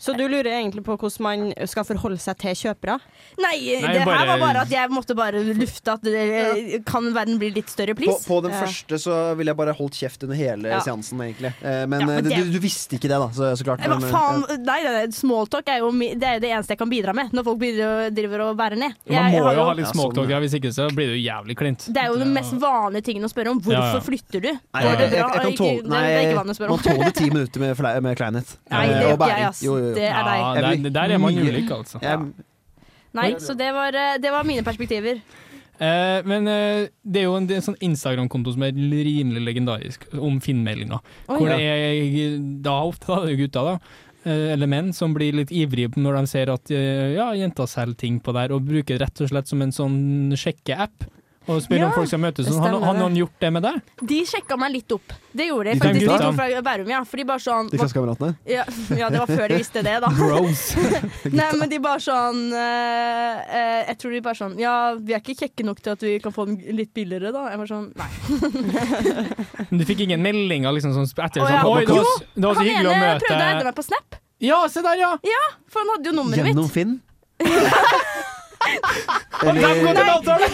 Så du lurer egentlig på hvordan man skal forholde seg til kjøpere? Nei, Nei, det bare- her var bare at jeg måtte bare lufte at det, kan verden bli litt større, På, please? på den Ja. første så ville jeg bare holdt kjeft under hele Ja. seansen, egentlig. Eh, Men, Ja, men eh, det, det- du, du visste ikke det, da, så, så klart. Hva men, eh, faen? Nei, nei, nei. Smalltalk er jo mi- det, er jo det eneste jeg kan bidra med når folk begynner å- driver og bærer ned. Man Jeg må har jo ha litt Ja, småtalk, sånn, ja. ja, hvis ikke så blir det jo jævlig klint. det er jo den mest vanlige tingen å spørre om. Hvorfor Ja, ja. flytter du? Nei, Går jeg, det jeg, bra? jeg kan Ikke- tåle det er ikke Nei, vanlig å spørre om. man tåler ti minutter med, fle- med kleinhet. Nei, Eh, det og gjør ikke bæring. jeg, ass. Jo, jo, jo. Det er Ja, deg. Jeg der, blir der er man mye- ulik, altså. Jeg, Nei, så det var, eh, det var mine perspektiver. Eh, men eh, det er jo en, det er en sånn Instagram-konto som er rimelig legendarisk, om Finn-meldinga. Hvor det er da ofte da, det er gutta, da, eh, eller menn, som blir litt ivrige når de ser at eh, ja, jenta selger ting på der, og bruker det rett og slett som en sånn sjekkeapp. Og spør Ja, om folk skal møtes. Sånn, har, stemmer har det. noen gjort det med deg? De sjekka meg litt opp. Det gjorde de De fem faktisk, de gutta? to fra Bærum, ja. For de bare sånn de klassekameratene? ja, ja, det var før de visste det, da. Bros. Nei, men de bare sånn eh, eh, Jeg tror de bare sånn Ja, vi er ikke kjekke nok til at vi kan få den litt billigere, da. Jeg var sånn Nei. Men du fikk ingen meldinger liksom, sånn, etter? Å, Sånn, ja. Oi, det var, Jo, det var så han hyggelig å ene prøvde å hente møte meg på Snap, Ja, se der, ja! for han hadde jo nummeret Gjennom mitt. Finn? Dem går til en avtale!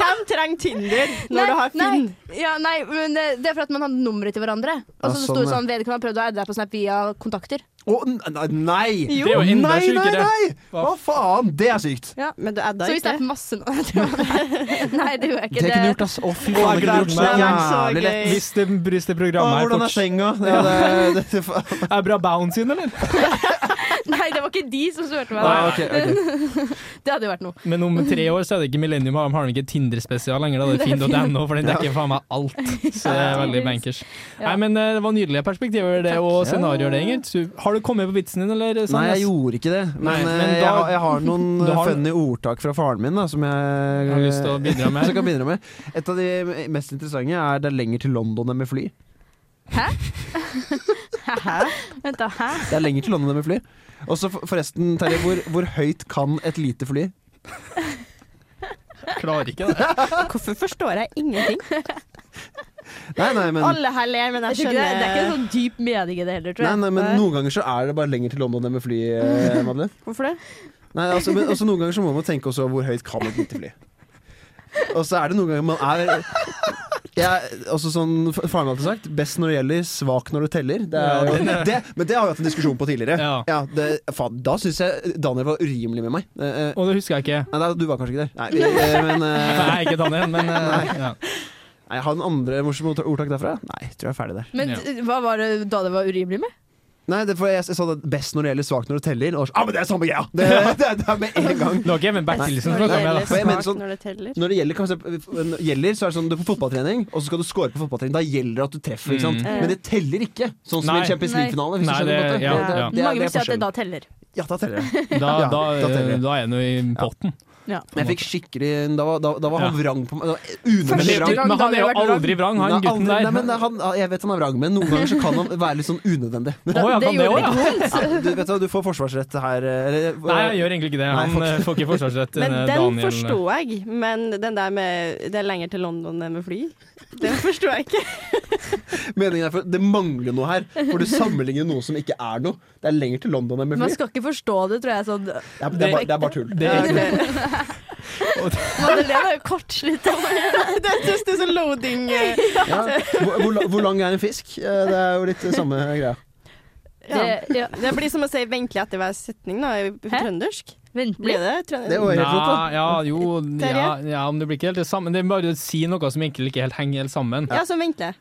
Hvem trenger Tinder når du har nei, Finn? ja, nei, men det, det er for at man hadde nummeret til hverandre. Og Ja, så sånn, sto det ja. sånn Vedkommende har prøvd å adde deg på Snap via kontakter. Å, n- nei! Jo. Det er jo enda nei, nei, sykere. nei! Hva faen? Det er sykt. Ja, men du adda Så vi ikke. snappet masse nå. Jeg tror det- Nei, det gjorde jeg ikke. Det kunne gjort, ass. Å, fy faen, det jeg kunne gleder gjort så meg. Det er så jævlig lett. gøy. Hvis det, hvis det Å, programmet her hvordan er fortsetter senga? Det, det, det, det, Er bra bounce in, eller? Nei, det var ikke de som spurte meg. Ah, ok, ok. Det hadde jo vært noe. Men om tre år så er det ikke Millennium Arm, har den ikke Tinder-spesial lenger. Da det er finn.no, for den dekker faen meg alt. Så det er veldig bankers. Ja. Nei, men eh, det var nydelige perspektiver det, og Ja. scenarioer, det, Ingrid. Så Har du kommet på vitsen din, eller? Nei, Sandnes? jeg gjorde ikke det. Men, Nei, men eh, da- jeg, har- jeg har noen Du har- eh, funny ordtak fra faren min da, som jeg Jeg har lyst til å bidra med. som jeg kan bidra med. Et av de mest interessante er det er lenger til London enn med fly. Vent da, hæ? Det er lenger til London enn med fly. Og så for- forresten, Terje, hvor, hvor høyt kan et lite fly? klarer ikke det. Hvorfor forstår jeg ingenting? Nei, nei, men, Alle her ler, men Jeg jeg tror ikke det, skjønner det er ikke en sånn dyp mening i det heller, tror nei, jeg. nei, men noen ganger så er det bare lenger til London enn med fly, eh, Madeleine. Hvorfor det? Nei, altså, men også noen ganger så må man tenke også hvor høyt kan et lite fly. Og så er det noen ganger man er jeg, også sånn, f- Faren min har alltid sagt 'best når det gjelder, svak når du teller'. Det er, Ja, jo- den er- det, men det har vi hatt en diskusjon på tidligere. Ja. det, faen, da syns jeg Daniel var urimelig med meg. Eh, eh, Og det husker jeg ikke. nei, da- du var kanskje ikke der. Nei, vi- eh, men For eh, Jeg er ikke Daniel, men eh, ja. nei, Har du andre morsomme ordtak- ordtak derfra? Nei, tror jeg er ferdig der. Men Ja. t- hva var det da det var urimelig med? Nei, det, er for jeg, jeg sa det best når det gjelder, svakt når du teller. Og så, ah, men det er samme greia! Det, det, det er med en gang. Det var ikke Even Bertilsen som Når snakka det med gjelder deg, da. For jeg mener smak sånn- når det teller. Når det gjelder, kan vi se- når det gjelder så er det sånn du er på fotballtrening, og så skal du score på fotballtrening. Da gjelder det at du treffer, ikke sant? Mm. Men det teller ikke. Sånn som i Nei. en Champions Nei. League-finale. hvis du Nei, skjønner på en måte. det- ja, det, ja. det, Mange vil si det er at det forskjellen. da teller. Ja, da teller det. Da, Ja, da, da teller eh, jeg. da er han jo i potten. Men Jeg fikk skikkelig Da var, da, da var han Ja. vrang på meg. Da- Men, Unødvendig det, Første vrang. gang men han er jo Daniel har vært aldri vrang, han Nei, gutten aldri- der. Nei, men han, jeg vet han er vrang, men noen ganger så kan han være litt sånn unødvendig. Å ja, kan det gjorde òg, ja. Du, vet du, hva, du får forsvarsrett her. Eller, eh, Nei, jeg gjør egentlig ikke det. Nei, Han eh, får ikke forsvarsrett. Men eh, den Daniel. forsto jeg, men den der med det er lenger til London enn med fly, den forsto jeg ikke. Meningen er for Det mangler noe her, for du sammenligner noe som ikke er noe. Det er lenger til London enn med Man fly. skal ikke forstå det, tror jeg. Sånn. Det er, det er, bare, det er bare tull. Det er ikke Madeleine er jo kortslitt. Det er just det sånn loading eh, Ja. Hvor, hvor, la- hvor lang er en fisk? Eh, Det er jo litt samme greia. ja. Det- ja. Det blir som å si 'ventelig etter hver setning' da, i Hæ? trøndersk. Ventlig. Blir det trøndersk? Det var helt rått, da. Nei, ja, jo, Terje? ja, ja, men det blir ikke helt det samme. Det er bare å si noe som egentlig ikke helt henger helt sammen. Ja, som ventelig.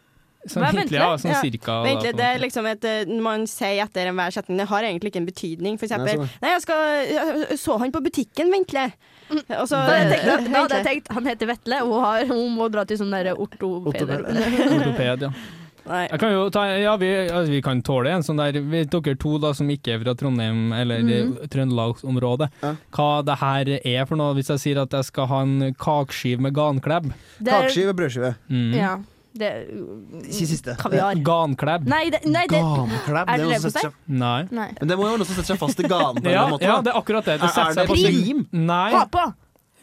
Sånn Hva er egentlig, ja, ventelig? sånn Ja. cirka. da, Egentlig, på en det måte. er liksom et eh, når Man sier etter enhver setning. Det har egentlig ikke en betydning. For Nei, eksempel så Nei, det. jeg skal jeg Så han på butikken, Venkle? Og så Da hadde jeg tenkt, at- da hadde jeg tenkt han heter Vetle, og har, hun må dra til sånn derre ortopeder. Ortoped, ja. Nei. Jeg kan jo ta, ja, vi, ja, vi kan tåle en sånn der vi- Dere to da som ikke er fra Trondheim eller Mhm. eh, Trøndelagsområdet, Ja. hva det her er for noe, hvis jeg sier at jeg skal ha en kakeskive med ganklebb? Det er- Kakeskive, brødskive. Mm. Ja. Det er Si siste. kaviar. Ganklebb? Nei, det, nei, det Ganklebb. Er det noe som leverpostei? setter seg- Nei. nei. Men det må jo være noe som setter seg fast i ganen på en eller Ja, annen måte. da. ja, det er akkurat det. Det er, setter er det seg på lim? Nei, Ha på!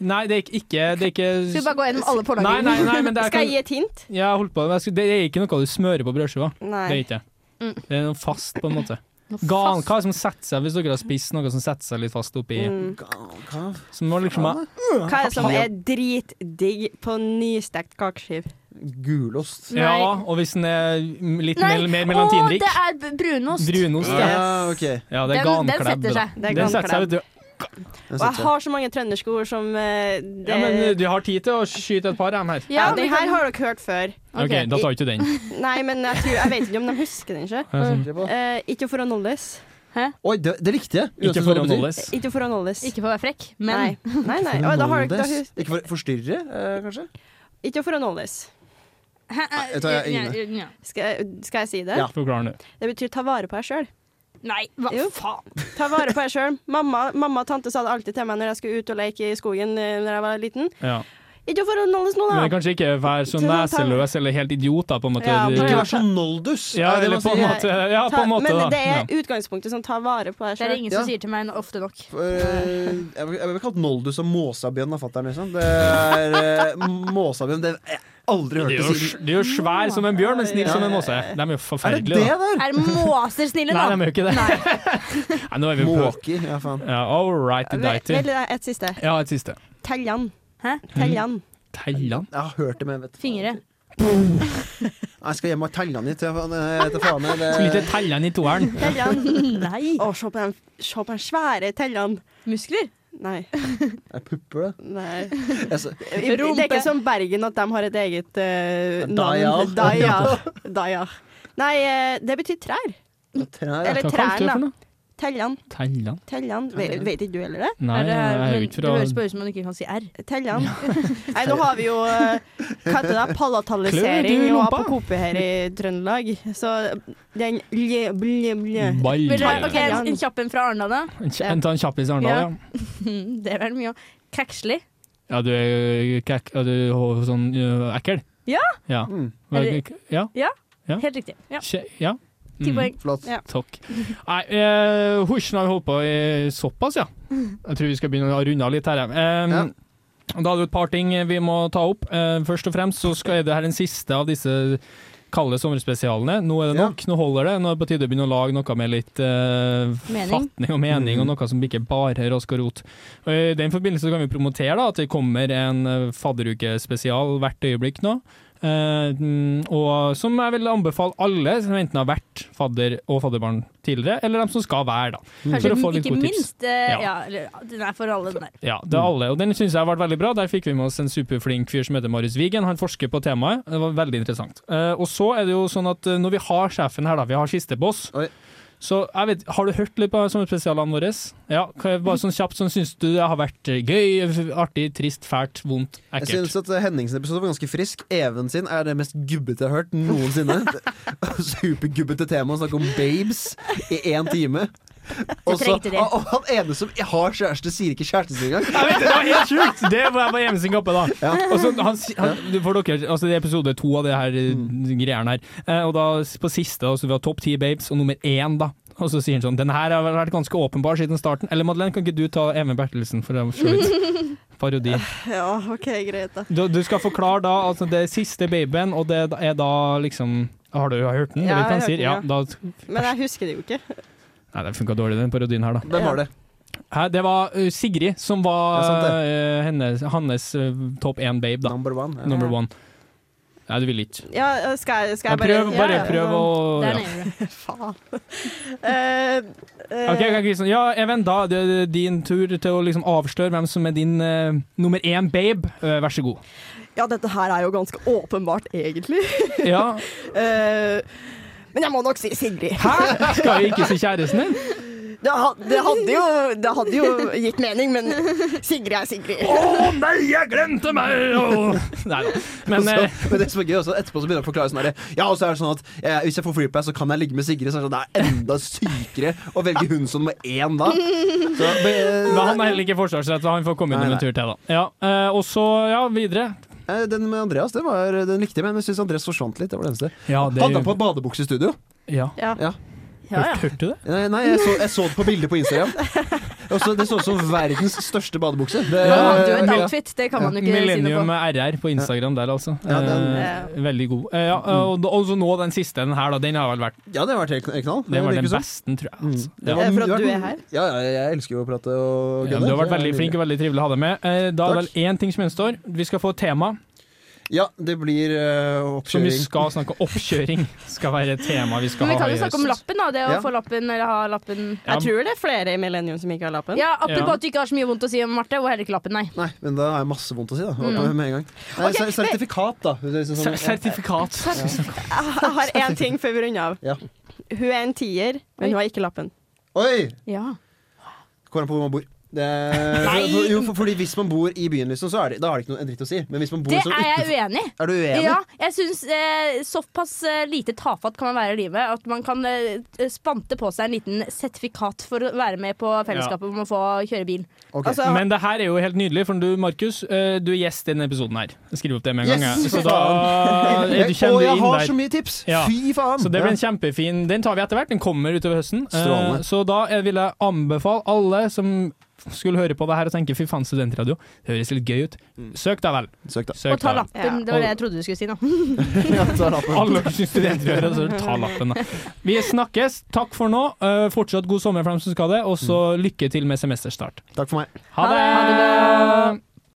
nei, det er ikke- ikke, det er Skal vi ikke bare gå gjennom alle forlagene? Nei, nei, nei, men det er, Skal jeg ikke- gi et hint? jeg har holdt på men jeg skulle- det er ikke noe du smører på brødskiva. Det er Nei. ikke det. Mm. Det er noe fast, på en måte. Noe fast. Gan, hva er det som setter seg, hvis dere har spist noe som setter seg litt fast oppi Mm. Gankav. Som må liksom ha Hva er det som er dritdigg på nystekt kakeskiv? Gulost. Nei. Ja, og hvis den er litt Nei, mel- mer Å, melantinrik. det er b- brunost. Brunost. Ja, Ja, ok. ja det er Den, den ganklebb. setter seg. Det er Den setter seg, vet ganklem. du. Den Og jeg setter seg. har så mange trønderske ord som eh, det, Ja, men eh, du har tid til å skyte et par av dem her. ja, men den her kan- har dere hørt før. OK, Ok. da tar vi ikke den. Eh, Nei, men jeg, tror, jeg vet ikke om de husker den ikke. Mm. Se på. Eh, ikke for å nåles. Oi, det, det likte jeg. Uansett Ikke for hva det å betyr. nåles. Ikke for å nåles. Ikke for å være frekk, men Nei, nei. nei. For å Å, da har dere, da, nåles. hus- Ikke for å forstyrre, eh, kanskje? ikke for å nåles. Nei, jeg tar jeg Ja, ingen. ja, ja. Skal, jeg- skal jeg si det? Ja. Forklar nå. Det betyr ta vare på deg sjøl. Nei, hva Jo. faen? Ta vare på deg sjøl. Mamma, mamma og tante sa det alltid til meg når jeg skulle ut og leke i skogen eh, Når jeg var liten. Ja. Ikke for å nåles nå, Men det er da! kanskje ikke være så Til å ta- neseløs eller helt idiot, da, på en måte. Ja, men- Ikke ja, vær så noldus! Er det eller man på en sier? måte, ja, på Ta, en måte men da. det Ja. er utgangspunktet som tar vare på deg Det er sjøl. ingen Ja. som sier til meg ofte nok. For, eh, Jeg jeg ble kalt noldus og måsabjørn av fatter'n, liksom. Det er eh, måsabjørn Det har jeg aldri De hørt er, det jo, siden. de er jo svær som en bjørn, men snill som en måse. De er jo Er det forferdelige, det da. der? Er måser snille, Nei, da? de er jo ikke det. Nei, nå er vi på Måker, ja faen. ja, All right, Veldig dighty. et siste. Ja, et siste. Teljan. Hæ? Teljan. Mm. Tellan? Jeg har hørt det, men jeg vet Fingre. Nei, Jeg skal hjem og telle den hit. Jeg faen- jeg vet da faen. jeg, det- Skulle ikke tellan i toeren. Teljan. Nei. Å, se på den- se på den svære teljan. Muskler. Nei. Jeg pupper det. Nei. Jeg så- Det er Rumpe. ikke som Bergen at de har et eget eh, Daya. navn. Daya. Daya. Nei, eh, det betyr trær. jeg trær, jeg. Hva kalte du Eller det trærne. for noe? Teljan. Tellan? Teljan. Ve- Vet ikke du heller det? Nei, Er det, jeg er men jo det ikke fra høres bare ut som man ikke kan si R. Teljan. Nei, nå har vi jo eh, Hva heter Klør det? Palatalisering du i og rumpa? apokope her i Trøndelag. Så den ble, ble, ble. Ball. Vil dere Nei. ok, en- en kjapp en fra Arendal, da? En kj- en- Ta en kjappis, Arendal, ja. Hmm, Det er vel mye. Kækslig. Ja, du er kek- ja, du er sånn ø, ekkel? Ja. Ja. Mm, Hva- Ja. Ja. Helt riktig. Ja. Kje- ja. Ti Mm. poeng. Flott. Ja. Takk. Nei, eh, husjen har vi holdt på i såpass, ja. Jeg tror vi skal begynne å runde av litt her. Eh, Ja. Da er det et par ting vi må ta opp. Eh, først og fremst så skal er det her den siste av disse kalde sommerspesialene. Nå er det Ja. nok, nå holder det. Nå er det på tide å begynne å lage noe med litt eh, Mening. fatning og mening, og noe som ikke bare er rask og rot. Og I den forbindelse kan vi promotere da, at det kommer en eh, fadderukespesial hvert øyeblikk nå. Eh, mm, og som jeg vil anbefale alle som enten har vært fadder og fadderbarn tidligere, eller dem som skal være, da. Kanskje For å få litt ikke gode tips. minst eh, Ja. ja. eller, ja, Den er for alle, den der. Ja, det er Mm. alle, og Den syns jeg har vært veldig bra. Der fikk vi med oss en superflink fyr som heter Marius Wigen. Han forsker på temaet. Det var veldig interessant. Eh, og så er det jo sånn at eh, når vi har sjefen her, da, vi har siste boss Oi. Så jeg vet, Har du hørt litt på sommerspesialene våre? Ja, kan jeg bare sånn kjapt sånn, Syns du det har vært eh, gøy, f- artig, trist, fælt, vondt, Jeg ekkelt? syns at Henningsen episode var ganske frisk. Even sin er det mest gubbete jeg har hørt noensinne. Supergubbete tema å snakke om babes i én time. Og så- Ah, trengte det. og- og han ene som har kjæreste, sier ikke kjæresten sin engang. Jeg vet, det var helt sjukt! Det var jeg bare hjemme sin kappe, da. Ja. Og så han, han, for dere, altså det er episode to av det her eh, Mm. greiene her. Eh, og da s- på siste, da, så vi har topp ti babes, og nummer én, da. Og så sier han sånn Den her har vært ganske åpenbar siden starten. Eller Madeleine, kan ikke du ta Even Bertelsen for å slå ut parodi? Ja, OK, greit, da. Du, du skal forklare da altså det er siste babyen, og det er da liksom Har du hørt den? Ja, Ja, jeg har hørt den, sier? Ja, ja. da, Men jeg husker det jo ikke. nei, det funka dårlig, den parodien her, da. Hvem var det? Hæ, det var eh, Sigrid som Ja, sant var det. eh, hennes, hans eh, topp én babe, da. Number one. Ja. Number one. Nei, du vil ikke. Ja, skal jeg, skal Ja, jeg bare prøv, bare prøv å Der ja. nede. Faen. Eh, eh, Ok, ok, Kristian. Ja, Even, da er det din tur til å liksom avsløre hvem som er din eh, nummer én babe. Eh, vær så god. Ja, dette her er jo ganske åpenbart, egentlig. Ja. Eh, men jeg må nok si Sigrid. Hæ? Skal vi ikke si kjæresten din? Det, ha- det, hadde jo, det hadde jo gitt mening, men Sigrid er Sigrid. Å nei, jeg glemte meg! Å. Nei da. Men Så, eh, men det som er gøy også, etterpå så begynner jeg å forklare sånn her, Ja, og så er det sånn at eh, hvis jeg får flypass, så kan jeg ligge med Sigrid. Så er det, sånn, det er enda sykere å velge hun som nummer én da. Så, eh, men han har heller ikke forsvarsrett, så han får komme Nei, innom nei. en tur til, da. Ja, eh, og så, ja, videre. eh, den med Andreas det var den likte jeg, men jeg syns Andreas forsvant litt. Det var det eneste. Ja, Hadde han på badebukse i studio? Eh, ja. Ja, ja. Hørte, hørte du det? Nei, nei jeg, så, jeg så det på bildet på Instagram. Og så- det så ut som verdens største badebukse. Det, Han hadde jo et ja. outfit, det kan man jo ikke si noe Millennium på. RR på Instagram der, altså. Ja, den- Eh, veldig god. Eh, ja, og, og så nå den siste den her, da. Den har vel vært ja, det var helt knall. Det var virker den som. beste, tror jeg. Mm. Altså. Det var- Eh, for at det var- du er her? Ja, ja, jeg elsker jo å prate og Ja, gunne, du har så vært jeg er veldig nydelig. flink og veldig trivelig å ha deg med. Eh, Da er det Takk. vel én ting som gjenstår. Vi skal få et tema Ja, det blir eh, som vi oppkjøring. skal snakke om. Oppkjøring skal være et tema vi skal Men vi ha kan i jo snakke om høst. lappen, da. Det å Ja. få lappen eller ha lappen. Ja, Jeg tror det er flere i Millennium som ikke har lappen. Ja, Ja. Apropos at du ikke har så mye vondt å si om Marte, og heller ikke lappen, nei. Nei, men da har jeg masse vondt å si, da. Med en gang. Nei, Ok, ser- sertifikat, da. Det er liksom Ser- sånn- Sertifikat. Jeg jeg har én ting før vi runder av. Ja. Hun er en tier, men hun har ikke lappen. Oi! Ja. Kommer an på hvor man bor. Det er, for, jo, for, fordi Hvis man bor i byen, liksom, så er det, da har det ikke noe en dritt å si. Men hvis man bor Det sånn er jeg utenfor uenig i. Er du uenig? Ja, jeg syns eh, såpass eh, lite tafatt kan man være i livet at man kan eh, spante på seg en liten sertifikat for å være med på fellesskapet om å få kjøre bil. Ok. Altså, Men det her er jo helt nydelig, for du Markus, eh, du er gjest i denne episoden her. Jeg skriver opp det med en gang. Yes, jeg. Så for da Jeg- er Å, du kjenner jeg inn har så der. mye tips! Ja. Fy faen! Så det blir en kjempefin Den tar vi etter hvert. Den kommer utover høsten. Eh, Strålende. Så da eh, vil jeg anbefale alle som skulle høre på det her og tenke fy faen, studentradio, det høres litt gøy ut. Søk da vel. ja. Søk, da. Søk Og ta da vel. lappen. Det var det jeg trodde du skulle si nå. Ja, ta lappen. Alle syns studenter gjør det, så ta lappen, da. Vi snakkes. Takk for nå. Eh, fortsatt god sommer for dem som skal det, og så lykke til med semesterstart. Takk for meg. Ha det!